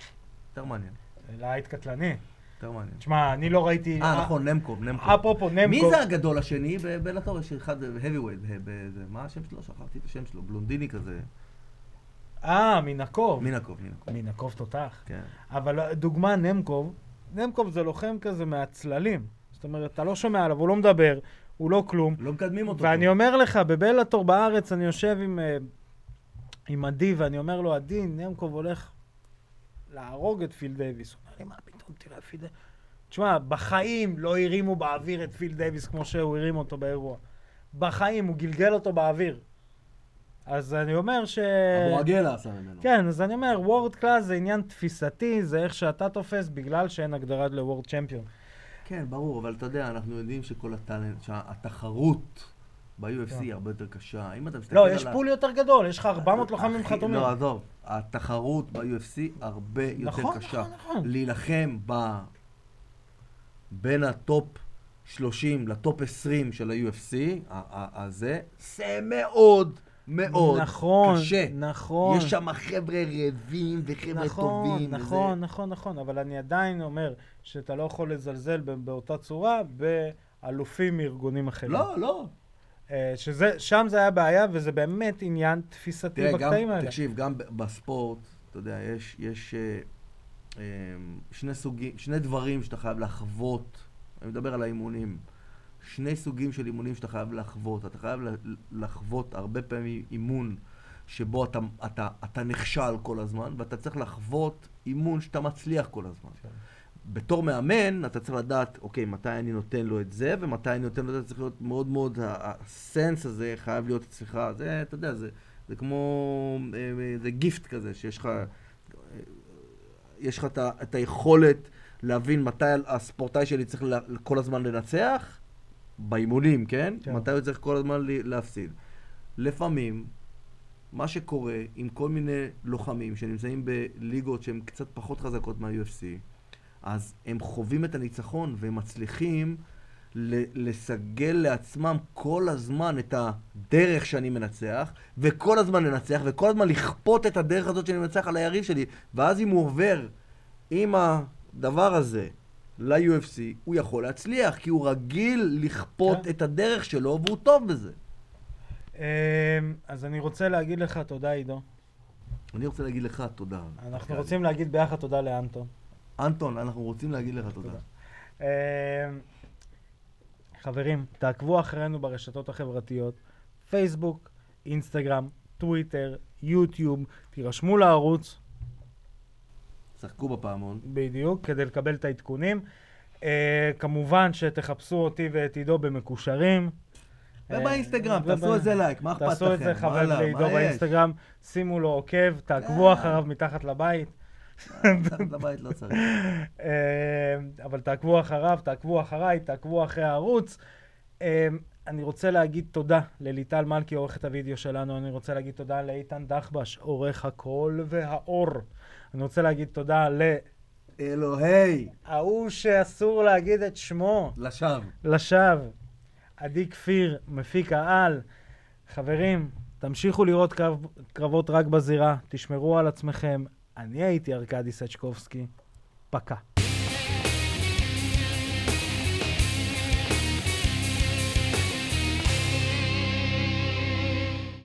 B: יותר מעניין,
A: אה, לייט קטלני.
B: יותר מעניין.
A: תשמע, אני לא ראיתי...
B: אה, נכון, נמקוב, נמקוב.
A: אפרופו נמקוב.
B: מי זה הגדול השני? בבלאטור יש אחד, אה, heavyweight, ב- ב- זה- מה השם שלו? שכחתי את השם שלו, בלונדיני כזה.
A: אה, מנקוב.
B: מינקוב, מינקוב.
A: מנקוב תותח.
B: כן.
A: אבל אה, דוגמה, נמקוב, נמקוב זה לוחם כזה מהצללים. זאת אומרת, אתה לא שומע עליו, הוא לא מדבר, הוא לא כלום.
B: לא מקדמים אותו.
A: ואני
B: טוב.
A: אומר לך, בבלאטור בארץ אני יושב עם, אה, עם עדי, ואני אומר לו, עדי, נמקוב הולך להרוג את פיל דייוויס. הוא אומר לי, מה פתאום, תראה, פיל דייוויס. תשמע, בחיים לא הרימו באוויר את פיל דייוויס כמו שהוא הרים אותו באירוע. בחיים, הוא גלגל אותו באוויר. אז אני אומר ש...
B: אבו עגלה עשה ממנו.
A: כן, אז אני אומר, וורד קלאס זה עניין תפיסתי, זה איך שאתה תופס, בגלל שאין הגדרה לוורד צ'מפיון.
B: כן, ברור, אבל אתה יודע, אנחנו יודעים שכל הטאלנט, שהתחרות ב-UFC
A: כן.
B: היא הרבה יותר קשה. אם אתה מסתכל
A: לא,
B: על
A: יש
B: ה-
A: פול יותר גדול, יש לך 400 לוחמים
B: אחי,
A: חתומים.
B: לא, עזוב, התחרות ב-UFC הרבה יותר
A: נכון,
B: קשה.
A: נכון, נכון.
B: להילחם ב... בין הטופ 30 לטופ 20 של ה-UFC, ה- ה- הזה, זה מאוד מאוד
A: נכון,
B: קשה.
A: נכון.
B: יש שם חבר'ה רעבים וחבר'ה
A: נכון,
B: טובים. וזה-
A: נכון, נכון, נכון, אבל אני עדיין אומר שאתה לא יכול לזלזל ב- באותה צורה באלופים מארגונים אחרים.
B: לא, לא.
A: אה, שזה, שם זה היה בעיה, וזה באמת עניין תפיסתי
B: תראה, גם,
A: בקטעים האלה.
B: תקשיב, גם ב- בספורט, אתה יודע, יש, יש אה, אה, שני סוגים, שני דברים שאתה חייב לחוות. אני מדבר על האימונים. שני סוגים של אימונים שאתה חייב לחוות. אתה חייב ל- לחוות הרבה פעמים אימון שבו אתה, אתה, אתה נכשל כל הזמן, ואתה צריך לחוות אימון שאתה מצליח כל הזמן.
A: כן.
B: בתור מאמן, אתה צריך לדעת, אוקיי, מתי אני נותן לו את זה, ומתי אני נותן לו את זה, צריך להיות מאוד מאוד, ה- ה- הסנס הזה חייב להיות אצלך, זה, אתה יודע, זה, זה כמו, אה, אה, זה גיפט כזה, שיש לך, אה, יש לך את ה- את היכולת להבין מתי הספורטאי שלי צריך ל- כל הזמן לנצח, באימונים, כן?
A: כן.
B: כן? מתי הוא צריך כל הזמן ל- להפסיד. לפעמים, מה שקורה עם כל מיני לוחמים שנמצאים בליגות שהן קצת פחות חזקות מה-UFC, אז הם חווים את הניצחון והם מצליחים ל- לסגל לעצמם כל הזמן את הדרך שאני מנצח, וכל הזמן לנצח, וכל הזמן לכפות את הדרך הזאת שאני מנצח על היריב שלי, ואז אם הוא עובר עם הדבר הזה ל-UFC, הוא יכול להצליח, כי הוא רגיל לכפות
A: כן.
B: את הדרך שלו, והוא טוב בזה.
A: אה, אז אני רוצה להגיד לך תודה, עידו.
B: אני רוצה להגיד לך תודה.
A: אנחנו רוצים להגיד ביחד תודה לאנטון.
B: אנטון, אנחנו רוצים להגיד לך תודה.
A: תודה. אה, חברים, תעקבו אחרינו ברשתות החברתיות, פייסבוק, אינסטגרם, טוויטר, יוטיוב, תירשמו לערוץ,
B: שחקו
A: [laughs]
B: בפעמון.
A: בדיוק, כדי לקבל את העדכונים. אה, כמובן שתחפשו אותי ואת עידו במקושרים. אה,
B: ובאינסטגרם,
A: וב-
B: תעשו את זה לייק, מה אכפת לכם?
A: תעשו את זה חבר
B: וואלה,
A: לעידו
B: מה יש?
A: באינסטגרם, שימו לו עוקב, תעקבו
B: אה.
A: אחריו מתחת לבית.
B: מתחת לבית לא צריך.
A: אה, אבל תעקבו אחריו, תעקבו אחריי, תעקבו אחרי הערוץ. אה, אני רוצה להגיד תודה לליטל מלכי, עורכת הוידאו שלנו. אני רוצה להגיד תודה לאיתן דחבש, עורך הקול והאור. אני רוצה להגיד תודה
B: אלוהי,
A: להוא שאסור להגיד את שמו,
B: לשווא.
A: לשווא. עדי כפיר, מפיק העל. חברים, תמשיכו לראות קרב, קרבות רק בזירה, תשמרו על עצמכם. אני הייתי ארכדי סצ'קובסקי, פקע.